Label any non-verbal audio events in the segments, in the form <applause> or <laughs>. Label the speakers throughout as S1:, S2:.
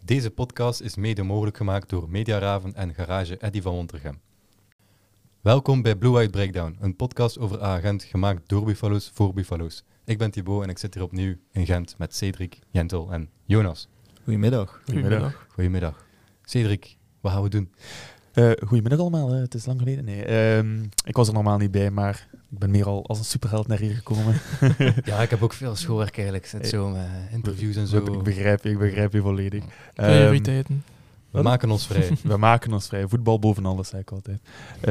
S1: Deze podcast is mede mogelijk gemaakt door Mediaraven en Garage Eddy van Wontergem. Welkom bij Blue White Breakdown, een podcast over agent gemaakt door Buffalo's voor Buffalo's. Ik ben Thibaut en ik zit hier opnieuw in Gent met Cedric, Jentel en Jonas.
S2: Goedemiddag.
S3: Goedemiddag.
S1: Goedemiddag. Cedric, wat gaan we doen?
S3: Eh, goedemiddag allemaal, eh, het is lang geleden. Nee, ehm, ik was er normaal niet bij, maar ik ben meer al als een superheld naar hier
S2: <laughs>
S3: gekomen.
S1: Ja, ik heb ook veel schoolwerk eigenlijk,
S3: Eh,
S1: zo met interviews en
S3: Dus
S1: zo.
S3: ik, ik begrijp je, ik begrijp je volledig. Ehm,
S2: Prioriteiten.
S1: We maken ons <laughs> vrij.
S3: we maken ons vrij. Voetbal boven alles, zei ik altijd. Eh,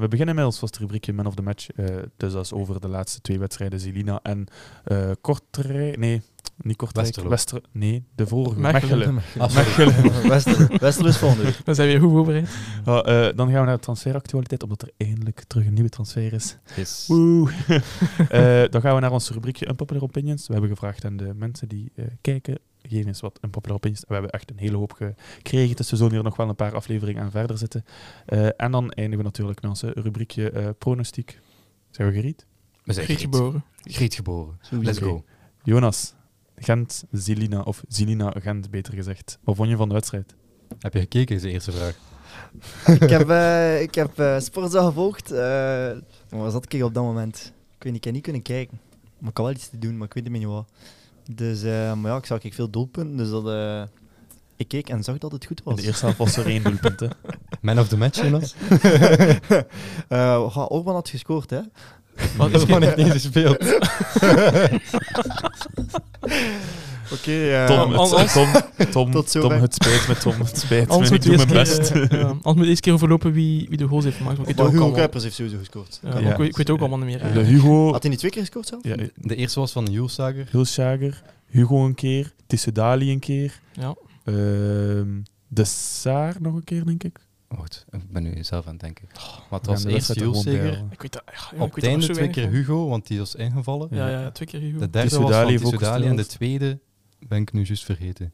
S3: we beginnen met ons vaste rubriekje Man of the Match. Eh, dus dat is over de laatste twee wedstrijden. Zelina en eh Kortrijk... Nee, niet Kortrijk.
S1: Westerlo.
S3: Wester, nee, de vorige.
S2: Mechelen.
S3: Mechelen.
S1: Ah, sorry.
S2: <laughs>
S3: Mechelen.
S2: Westerlo. Westerlo is volgende week.
S4: We zijn weer goed voorbereid.
S3: Ja, eh, dan gaan we naar de transferactualiteit, omdat er eindelijk terug een nieuwe transfer is.
S1: Yes.
S3: Woe. <laughs> Eh, dan gaan we naar ons rubriekje Unpopular Opinions. We hebben gevraagd aan de mensen die eh, kijken. Geen eens wat Unpopular Opinions. We hebben echt een hele hoop gekregen. Dus we zullen hier nog wel een paar afleveringen aan verder zitten. Eh, en dan eindigen we natuurlijk met ons eh, rubriekje eh, pronostiek. Zijn we geriet?
S1: We zijn
S4: Griet
S1: Griet,
S4: geboren.
S1: Griet geboren. Let's
S3: Oké.
S1: go.
S3: Jonas, Gent, Zelina. Of Zelina, Gent beter gezegd. Wat vond je van de wedstrijd?
S1: Heb je gekeken, is de eerste vraag.
S2: Ik
S5: ik heb, eh ik heb eh, Sportza gevolgd. eh, maar waar zat ik op dat moment? Ik weet niet, ik heb niet kunnen kijken. Maar ik had wel iets te doen, maar ik weet het niet meer wat. Dus, eh, maar ja, ik zag ik veel doelpunten, dus dat, eh, ik keek en zag dat het goed
S3: In
S5: was.
S3: de eerste helft was er één doelpunt. Hè?
S1: Man of the match, Jonas?
S5: <laughs> Eh, ja, Orban had gescoord, hè?
S1: <laughs>
S4: Wat is
S1: Orban heeft niet gespeeld.
S5: <laughs> Oké, eh,
S3: Tom,
S4: Al-
S3: het, Tom, Tom,
S5: Tot
S3: Tom,
S5: zover.
S3: het spijt me, Tom. Het spijt me.
S4: Anders
S3: Ik
S4: moet
S3: doe
S4: eerst
S3: mijn
S4: keer,
S3: best.
S4: eh, ja, anders moet eerst keer overlopen wie, wie de goals heeft gemaakt. want Ik weet
S5: maar
S4: het ook
S5: Hugo
S4: allemaal.
S5: Kuipers heeft sowieso gescoord.
S4: Ja, maar
S3: Ja.
S4: ik, weet- ik weet het ook allemaal niet meer.
S3: De Hugo.
S5: Had hij niet twee keer gescoord zelf?
S3: Ja,
S1: De eerste was van Julsager.
S3: Hulsjager, Hugo een keer, Tissedali een keer,
S4: Ja.
S3: ehm, De Saar nog een keer, denk ik.
S1: Wacht, Oh, ik ben nu zelf aan het denken. Maar het
S3: Oh, We
S1: was
S3: gaan de
S1: eerst
S3: wedstrijd er gewoon bij
S1: Julsager.
S3: halen.
S4: Ik weet dat. Ja, jongen,
S1: Op het
S4: ik weet dat
S1: einde
S4: zo
S1: twee
S4: weinig,
S1: keer
S4: hè.
S1: Hugo, want die was ingevallen.
S4: Ja, ja, twee keer
S1: De
S4: Hugo.
S1: derde was
S3: Tissoudali
S1: van
S3: heeft ook
S1: Tissoudali en de
S3: gespeeld.
S1: tweede ben ik nu juist vergeten.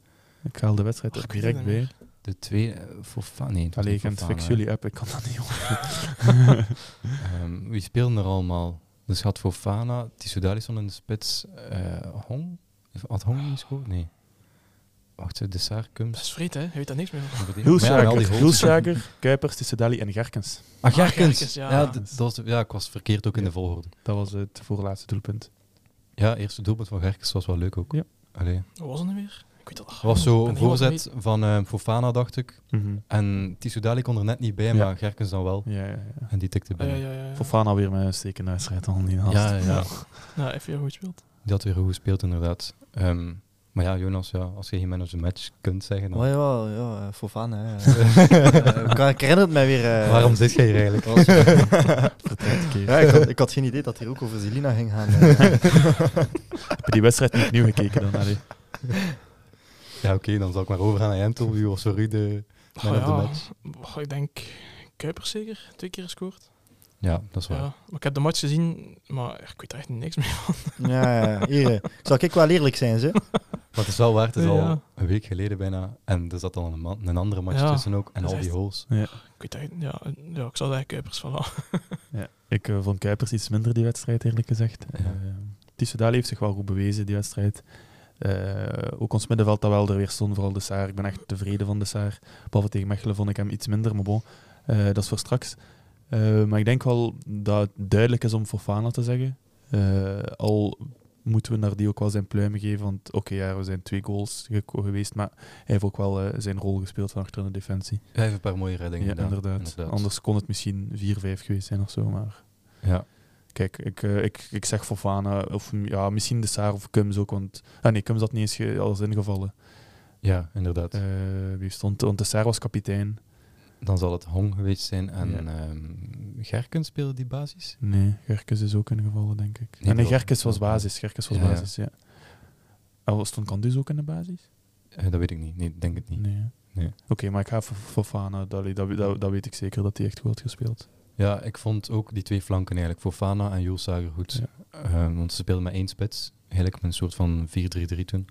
S3: Ik haal de wedstrijd
S4: Oh,
S3: er
S4: ik weet het
S3: direct
S4: niet
S3: bij.
S1: De twee, eh, Fofana. Nee, het was
S3: Allee,
S1: niet
S3: Gent,
S1: Fofana,
S3: fix
S1: hè.
S3: jullie app, ik kan dat niet hoor.
S1: Ehm, wie speelden er allemaal? Dus had Fofana, Tissoudali stond in de spits. eh, Hong? Had Hong niet gescoord? Nee. Wacht, De Saar,
S4: Dat
S1: Kums.
S4: is vreed, hè? Hij weet daar niks meer van.
S1: Maar ja, al die
S3: Hulsjager,
S1: goals.
S3: Hulsjager, Kuipers, Tissedali en Gerkens.
S1: Ah,
S4: Ah,
S1: Gerkens.
S4: Gerkens,
S1: ja.
S4: ja.
S1: d- dat was, ja, ik was verkeerd ook in de volgorde.
S3: Dat was het voorlaatste doelpunt.
S1: Ja, eerste doelpunt van Gerkens was wel leuk ook.
S3: Ja.
S1: Allee.
S4: Wat was het nu weer? Ik weet dat.
S1: Er was
S4: Ah, Ik
S1: zo
S4: ben
S1: een
S4: heel wat
S1: voorzet van eh, Fofana, dacht ik.
S3: Mhm.
S1: En Tissoudali kon er net niet bij,
S3: Ja.
S1: maar Gerkens dan wel.
S3: Ja, ja, ja.
S1: En die tikte
S4: mee.
S1: binnen.
S4: Ja, ja, ja. ja.
S3: Fofana weer met een stekende wedstrijd al niet haast.
S1: Ja, ja,
S4: Ja. Nou, even heel goed gespeeld.
S1: die had weer goed gespeeld inderdaad. Ehm, maar ja, Jonas, ja, als je geen man of the match kunt zeggen,
S3: Oh,
S1: dan...
S5: Maar ja, ja eh, voor van, hè. Eh, ik- ik herinner het mij weer.
S1: <laughs>
S5: eh, <laughs> Oh,
S1: waarom zit jij hier eigenlijk?
S5: dat was-
S3: Vertrekt keer.
S5: Ja, ik
S3: <laughs>
S5: had, ik had geen idee dat hij ook over Zelina ging gaan. eh.
S3: Heb je die wedstrijd niet opnieuw gekeken dan? Allee.
S1: Ja, oké, dan zal ik maar overgaan aan Jentel. Wie was voor u de man
S4: Oh,
S1: of the
S4: ja.
S1: match?
S4: Oh, ik denk Kuipers zeker. Twee keer gescoord.
S1: Ja, dat is waar.
S4: Ja. Maar ik heb de match gezien, maar ik weet er echt niks meer. <laughs>
S5: ja, ja, ja. hier. eh, Zal ik wel eerlijk zijn, ze?
S1: Maar het is wel waar, het is
S4: Ja.
S1: al een week geleden bijna. En er zat al een, man- een andere match
S4: Ja,
S1: tussen ook. En
S4: dat
S1: al
S4: is
S1: die
S4: echt-
S1: goals.
S4: Ik weet echt, ja, eh, ja, ik zal daar Kuipers van laten.
S3: Ja, ik eh, vond Kuipers iets minder die wedstrijd, eerlijk gezegd.
S1: Ja.
S3: Eh Tissoudali heeft zich wel goed bewezen, die wedstrijd. Eh, ook ons middenveld dat wel er weer stond, vooral de Saar. Ik ben echt tevreden van de Saar. Behalve tegen Mechelen vond ik hem iets minder, maar bon, eh, dat is voor straks. Eh, maar ik denk wel dat het duidelijk is om Fofana te zeggen. Eh, al moeten we naar die ook wel zijn pluimen geven, want oké, ja, er zijn twee goals geko- geweest, maar hij heeft ook wel eh, zijn rol gespeeld van achter in de defensie.
S1: Hij heeft een paar mooie reddingen
S3: Ja,
S1: gedaan.
S3: inderdaad. Anders kon het misschien 4-5 geweest zijn of zo, maar...
S1: Ja.
S3: Kijk, ik, eh, ik, ik zeg Fofana, of m- ja, misschien de Saar of Kums ook, want... Ah nee, Kums had niet eens ge- alles ingevallen.
S1: ja, inderdaad.
S3: Eh, wie stond? Want de Saar was kapitein.
S1: Dan zal het Hong geweest zijn. En
S3: Ja.
S1: ehm, Gerkens speelde die basis.
S3: Nee, Gerkes is ook ingevallen, denk ik.
S1: Nee,
S3: Nee, nee
S1: wel-
S3: Gerkes was basis, Gerkes was
S1: Ja, ja.
S3: basis, ja. Al stond Kandus ook in de basis?
S1: Eh, dat weet ik niet. Nee, ik denk het niet.
S3: Nee. hè?
S1: Nee.
S3: Oké, maar ik ga voor Fofana, dat, dat, dat, dat weet ik zeker, dat hij echt goed had gespeeld.
S1: Ja, ik vond ook die twee flanken eigenlijk, Fofana en Jules Sager goed.
S3: Ja.
S1: Ehm, want ze speelden met één spits, eigenlijk met een soort van 4-3-3 toen.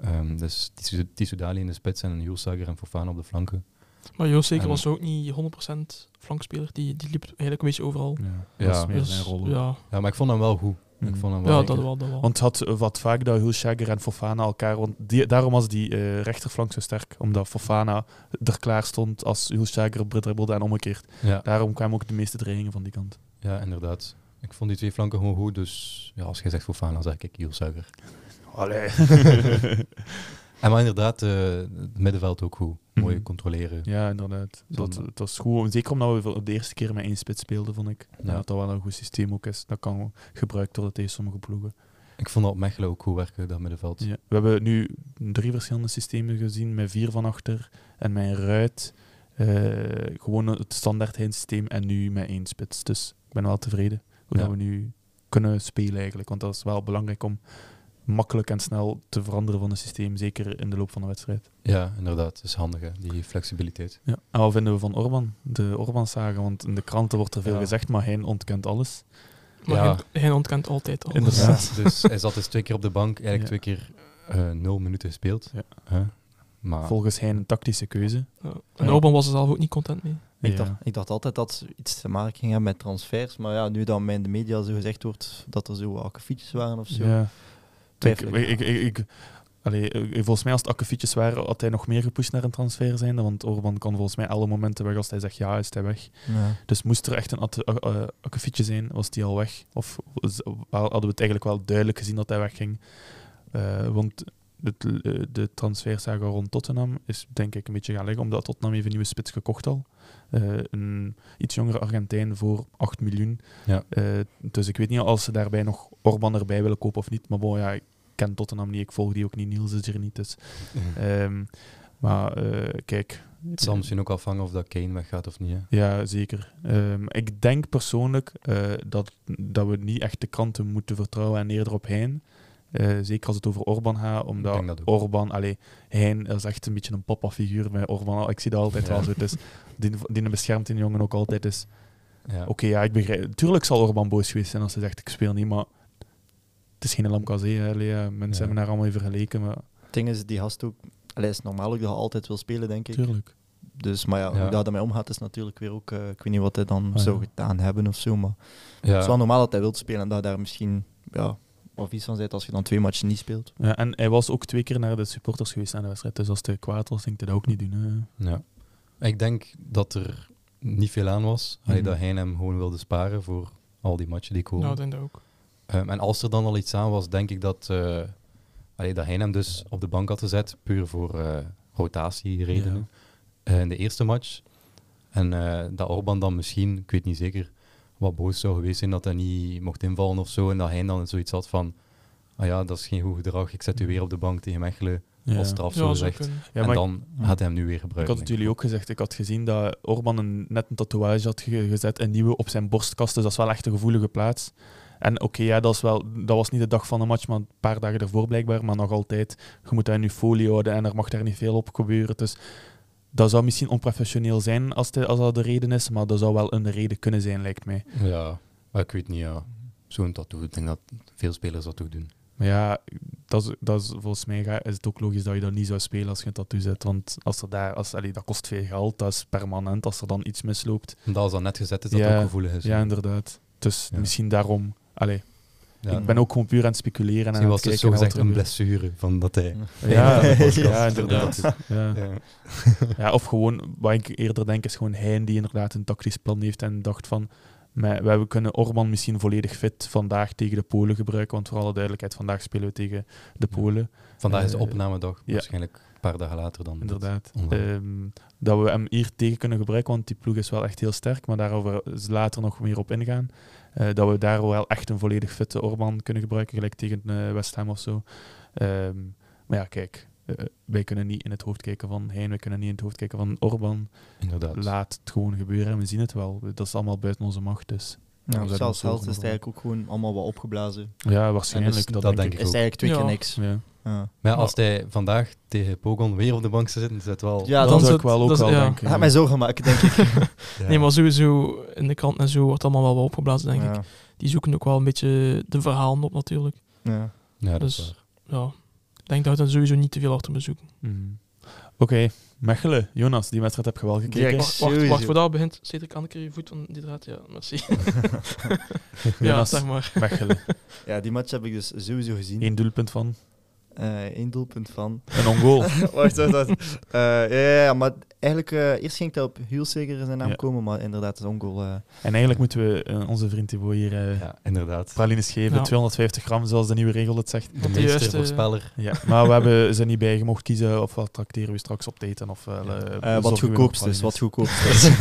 S1: Ehm dus Tissu- Tissoudali in de spits en Jules Sager en Fofana op de flanken.
S4: Maar Joost zeker
S1: En-
S4: was ook niet 100% flankspeler. Die, die liep eigenlijk een beetje overal. Dus,
S3: Ja,
S1: Ja.
S3: dat is meer zijn rol.
S4: Ja,
S1: Ja, maar ik vond hem wel goed. Ik
S3: Mhm.
S1: vond hem wel
S4: Ja,
S1: lekker.
S4: dat wel, dat wel.
S3: Want het had wat vaak dat Hulshager en Fofana elkaar... Want die, daarom was die eh, rechterflank zo sterk. Omdat Fofana er klaar stond als Hulshager dribbelde en omgekeerd.
S1: Ja,
S3: Daarom kwamen ook de meeste dreigingen van die kant.
S1: ja, inderdaad. Ik vond die twee flanken gewoon goed, dus ja, als jij zegt Fofana, zeg ik Julsuiger.
S3: <laughs> Allee.
S1: <laughs> En maar inderdaad, eh, het middenveld ook goed. Mooi
S3: Mhm.
S1: controleren.
S3: ja, inderdaad. Dus Dat,
S1: Zonde.
S3: het was goed. Zeker omdat we voor de eerste keer met één spits speelden, vond ik.
S1: Ja.
S3: Ja. Dat dat wel een goed systeem ook is. Dat kan gebruikt worden tegen sommige ploegen.
S1: Ik vond dat op Mechelen ook goed werken, dat middenveld.
S3: Ja. We hebben nu drie verschillende systemen gezien, met vier van achter en met een ruit. Eh, gewoon het standaard heen systeem en nu met één spits. Dus ik ben wel tevreden hoe
S1: Ja.
S3: dat we nu kunnen spelen eigenlijk. Want dat is wel belangrijk om makkelijk en snel te veranderen van het systeem, zeker in de loop van de wedstrijd.
S1: Ja, inderdaad. Dat is handig, hè, die flexibiliteit.
S3: Ja. En wat vinden we van Orban? De Orban-saga, want in de kranten wordt er veel
S1: Ja.
S3: gezegd, maar hij ontkent alles.
S4: Maar
S1: Ja.
S4: hij, hij ontkent altijd al.
S3: Inderdaad.
S1: <laughs> dus hij zat dus twee keer op de bank, eigenlijk twee
S3: Ja.
S1: keer eh, nul minuten gespeeld.
S3: Ja.
S1: Hè? Maar
S3: Volgens hij een tactische keuze.
S4: Ja. En
S1: Ja.
S4: Orban was er zelf ook niet content mee.
S5: Ik,
S3: Ja.
S5: dacht, ik dacht altijd dat ze iets te maken ging hebben met transfers. Maar ja, nu dat mij in de media zo gezegd wordt dat er zo wat akkefietjes waren of zo.
S3: Ja. Ik,
S5: Twijfel ik.
S3: ik, ik, ik, allee, eh, volgens mij als het akkefietjes waren, had hij nog meer gepusht naar een transfer zijn. Want Orban kan volgens mij alle momenten weg. Als hij zegt ja, is hij weg.
S5: Ja.
S3: Dus moest er echt een atte- a- eh, akkefietje zijn, was die al weg. Of was- hadden we het eigenlijk wel duidelijk gezien dat hij wegging. Eh, want het, eh, de transferzaga rond Tottenham is denk ik een beetje gaan liggen. Omdat Tottenham heeft een nieuwe spits gekocht al. Eh, een iets jongere Argentijn voor 8 miljoen.
S1: Ja.
S3: Eh, dus ik weet niet of ze daarbij nog Orban erbij willen kopen of niet. Maar bon, ja, ik ken Tottenham niet. Ik volg die ook niet. Niels is er niet. Dus, ehm, maar eh, kijk.
S1: het zal misschien ook afhangen of dat Kane weggaat of niet. Hè?
S3: Ja, zeker. Ehm, ik denk persoonlijk eh, dat, dat we niet echt de kranten moeten vertrouwen en eerder op Hein. Eh, zeker als het over Orban gaat, omdat
S1: denk dat ook.
S3: Orban, allee, Hein is echt een beetje een papa figuur bij Orban. Ik zie dat altijd
S1: Ja.
S3: wel zo. Dus die, die beschermt die jongen ook altijd. Dus
S1: Ja.
S3: oké, ja, ik begrijp. Tuurlijk zal Orban boos geweest zijn als hij zegt: Ik speel niet, maar het is geen lamkazee. hè. Allee, eh, Mensen
S1: Ja.
S3: hebben daar allemaal mee vergeleken. Maar,
S5: Het ding is, die gast ook... Hij is normaal ook dat hij altijd wil spelen, denk ik.
S3: tuurlijk.
S5: Dus, maar ja,
S1: Ja.
S5: hoe dat daarmee omgaat is natuurlijk weer ook... eh, ik weet niet wat hij dan
S3: Ah,
S5: zou
S3: ja.
S5: gedaan hebben of zo, maar...
S1: Ja.
S5: Het is wel normaal dat hij wilt spelen en dat hij daar misschien ja, wel vies van zit als je dan twee matchen niet speelt.
S3: Ja, en hij was ook twee keer naar de supporters geweest na de wedstrijd. Dus als hij kwaad was, denk ik dat ook niet doen. Hè.
S1: Ja. Ik denk dat er niet veel aan was. Allee,
S3: Mhm.
S1: Dat hij hem gewoon wilde sparen voor al die matchen die komen.
S4: Nou, ik denk dat ook.
S1: Ehm, en als er dan al iets aan was, denk ik dat, eh allee, dat hij hem dus op de bank had gezet, puur voor eh, rotatieredenen. Eh, in de eerste match. En eh, dat Orban dan misschien, ik weet niet zeker, wat boos zou geweest zijn dat hij niet mocht invallen of zo. En dat hij dan zoiets had van, ah ja, dat is geen goed gedrag, ik zet u weer op de bank tegen Mechelen
S3: Ja.
S1: als straf, zo
S4: Ja, zou
S1: gezegd.
S4: kunnen.
S1: en
S3: Ja, maar ik-
S1: dan gaat hij hem nu weer
S3: Ik
S1: gebruiken.
S3: had het jullie ook gezegd. Ik had gezien dat Orban een, net een tatoeage had ge- gezet, een nieuwe op zijn borstkast. Dus dat is wel echt een gevoelige plaats. En oké, ja, dat, is wel, dat was niet de dag van de match, maar een paar dagen ervoor blijkbaar. Maar nog altijd, je moet daar nu folie houden en er mag daar niet veel op gebeuren. Dus dat zou misschien onprofessioneel zijn als, de- als dat de reden is, maar dat zou wel een reden kunnen zijn, lijkt mij.
S1: Ja, maar ik weet niet, ja. Zo'n tattoo, ik denk dat veel spelers dat ook doen.
S3: Maar ja, dat is, dat is, volgens mij ga- is het ook logisch dat je dat niet zou spelen als je een tattoo zet. Want als er daar, als, allee, dat kost veel geld, dat is permanent. Als er dan iets misloopt,
S1: Omdat als dat net gezet is, dat
S3: Ja,
S1: het ook gevoelig is.
S3: Ja, inderdaad. Dus
S1: Ja.
S3: misschien daarom. Allee,
S1: Ja.
S3: ik ben ook gewoon puur aan het speculeren. En
S1: Misschien
S3: aan
S1: was
S3: het
S1: het
S3: kijken naar
S1: zogezegd
S3: wat
S1: een
S3: er
S1: blessure van dat hij...
S5: <laughs>
S1: <laughs>
S3: Ja,
S1: Ja,
S3: ja,
S1: ja,
S3: inderdaad.
S1: inderdaad.
S3: gebeurt. Ja.
S1: Ja.
S3: Ja, of gewoon, wat ik eerder denk, is gewoon hij die inderdaad een tactisch plan heeft en dacht van. Maar wij- we kunnen Orban misschien volledig fit vandaag tegen de Polen gebruiken. Want voor alle duidelijkheid, vandaag spelen we tegen de
S1: Ja.
S3: Polen.
S1: Vandaag is de
S3: Eh,
S1: opnamedag,
S3: ja.
S1: waarschijnlijk een paar dagen later dan. dit.
S3: Inderdaad.
S1: online.
S3: Ehm, dat we hem hier tegen kunnen gebruiken, want die ploeg is wel echt heel sterk, maar daarover is later nog meer op ingaan. Eh, dat we daar wel echt een volledig fitte Orban kunnen gebruiken, gelijk tegen eh, West Ham of zo. Ehm, maar ja, kijk, eh, wij kunnen niet in het hoofd kijken van Hein, wij kunnen niet in het hoofd kijken van Orban.
S1: Inderdaad.
S3: Laat het gewoon gebeuren en we zien het wel. Dat is allemaal buiten onze macht, dus
S5: Ja,
S3: we zijn
S5: zelfs
S3: wel
S5: Held is
S3: zorgen
S5: het eigenlijk ook gewoon allemaal wat opgeblazen.
S3: ja,
S1: waarschijnlijk,
S3: waarschijnlijk.
S1: En dus dat
S3: dat,
S1: dat
S3: denk
S1: denk
S5: Is
S1: ik
S3: ik.
S1: ook.
S5: eigenlijk twee
S4: Ja.
S5: keer niks.
S3: Ja.
S5: Ja.
S1: Maar ja, als hij vandaag tegen Pogon weer op de bank zou zitten, is het wel...
S5: Ja,
S4: dan
S3: dat
S4: is
S3: zou ik
S4: het-
S3: wel ook
S4: dat is-
S3: wel
S4: ja.
S3: denken.
S5: Dat gaat mij zorgen maken, denk ik.
S1: Ja.
S4: Nee, maar sowieso in de krant en zo wordt allemaal wel wat opgeblazen, denk ik.
S5: ja.
S4: Die zoeken ook wel een beetje de verhalen op, natuurlijk.
S5: Ja.
S1: Ja, dat is
S4: dus-
S1: waar.
S4: Ja. Ik denk dat we daar sowieso niet te veel achter moeten zoeken.
S3: Mhm. Mechelen, Jonas, die wedstrijd heb je wel gekeken.
S5: Direct.
S4: Wacht, wacht,
S5: Sowieso.
S4: wacht, voor dat begint. Cedric Anneke, je voet van die draad. Ja,
S1: <laughs>
S4: merci. ja,
S3: Jonas,
S4: zeg maar.
S3: Mechelen.
S5: Ja, die match heb ik dus sowieso gezien.
S3: Eén doelpunt van,
S5: Eén doelpunt van.
S3: een ongoal.
S5: wacht, wacht, wacht. Eh, ja, ja, ja, maar eigenlijk eh, eerst ging het op Hulseger zijn naam
S3: Ja.
S5: komen, maar inderdaad, het is ongoal. eh.
S3: En eigenlijk moeten we eh, onze vriend Thibaut hier eh
S1: Ja, inderdaad.
S3: pralines geven.
S4: Ja.
S3: 250 gram, zoals de nieuwe regel het zegt.
S1: De
S4: de
S1: meester
S4: juiste-
S1: voorspeller.
S3: Ja. Maar we hebben ze niet bij gemocht kiezen of wat tracteren we straks op eten. Of, wel, eh,
S5: Eh,
S3: bezorgen we nog
S5: wat goedkoopst is,
S3: <laughs> pralines.
S5: wat goedkoopst is.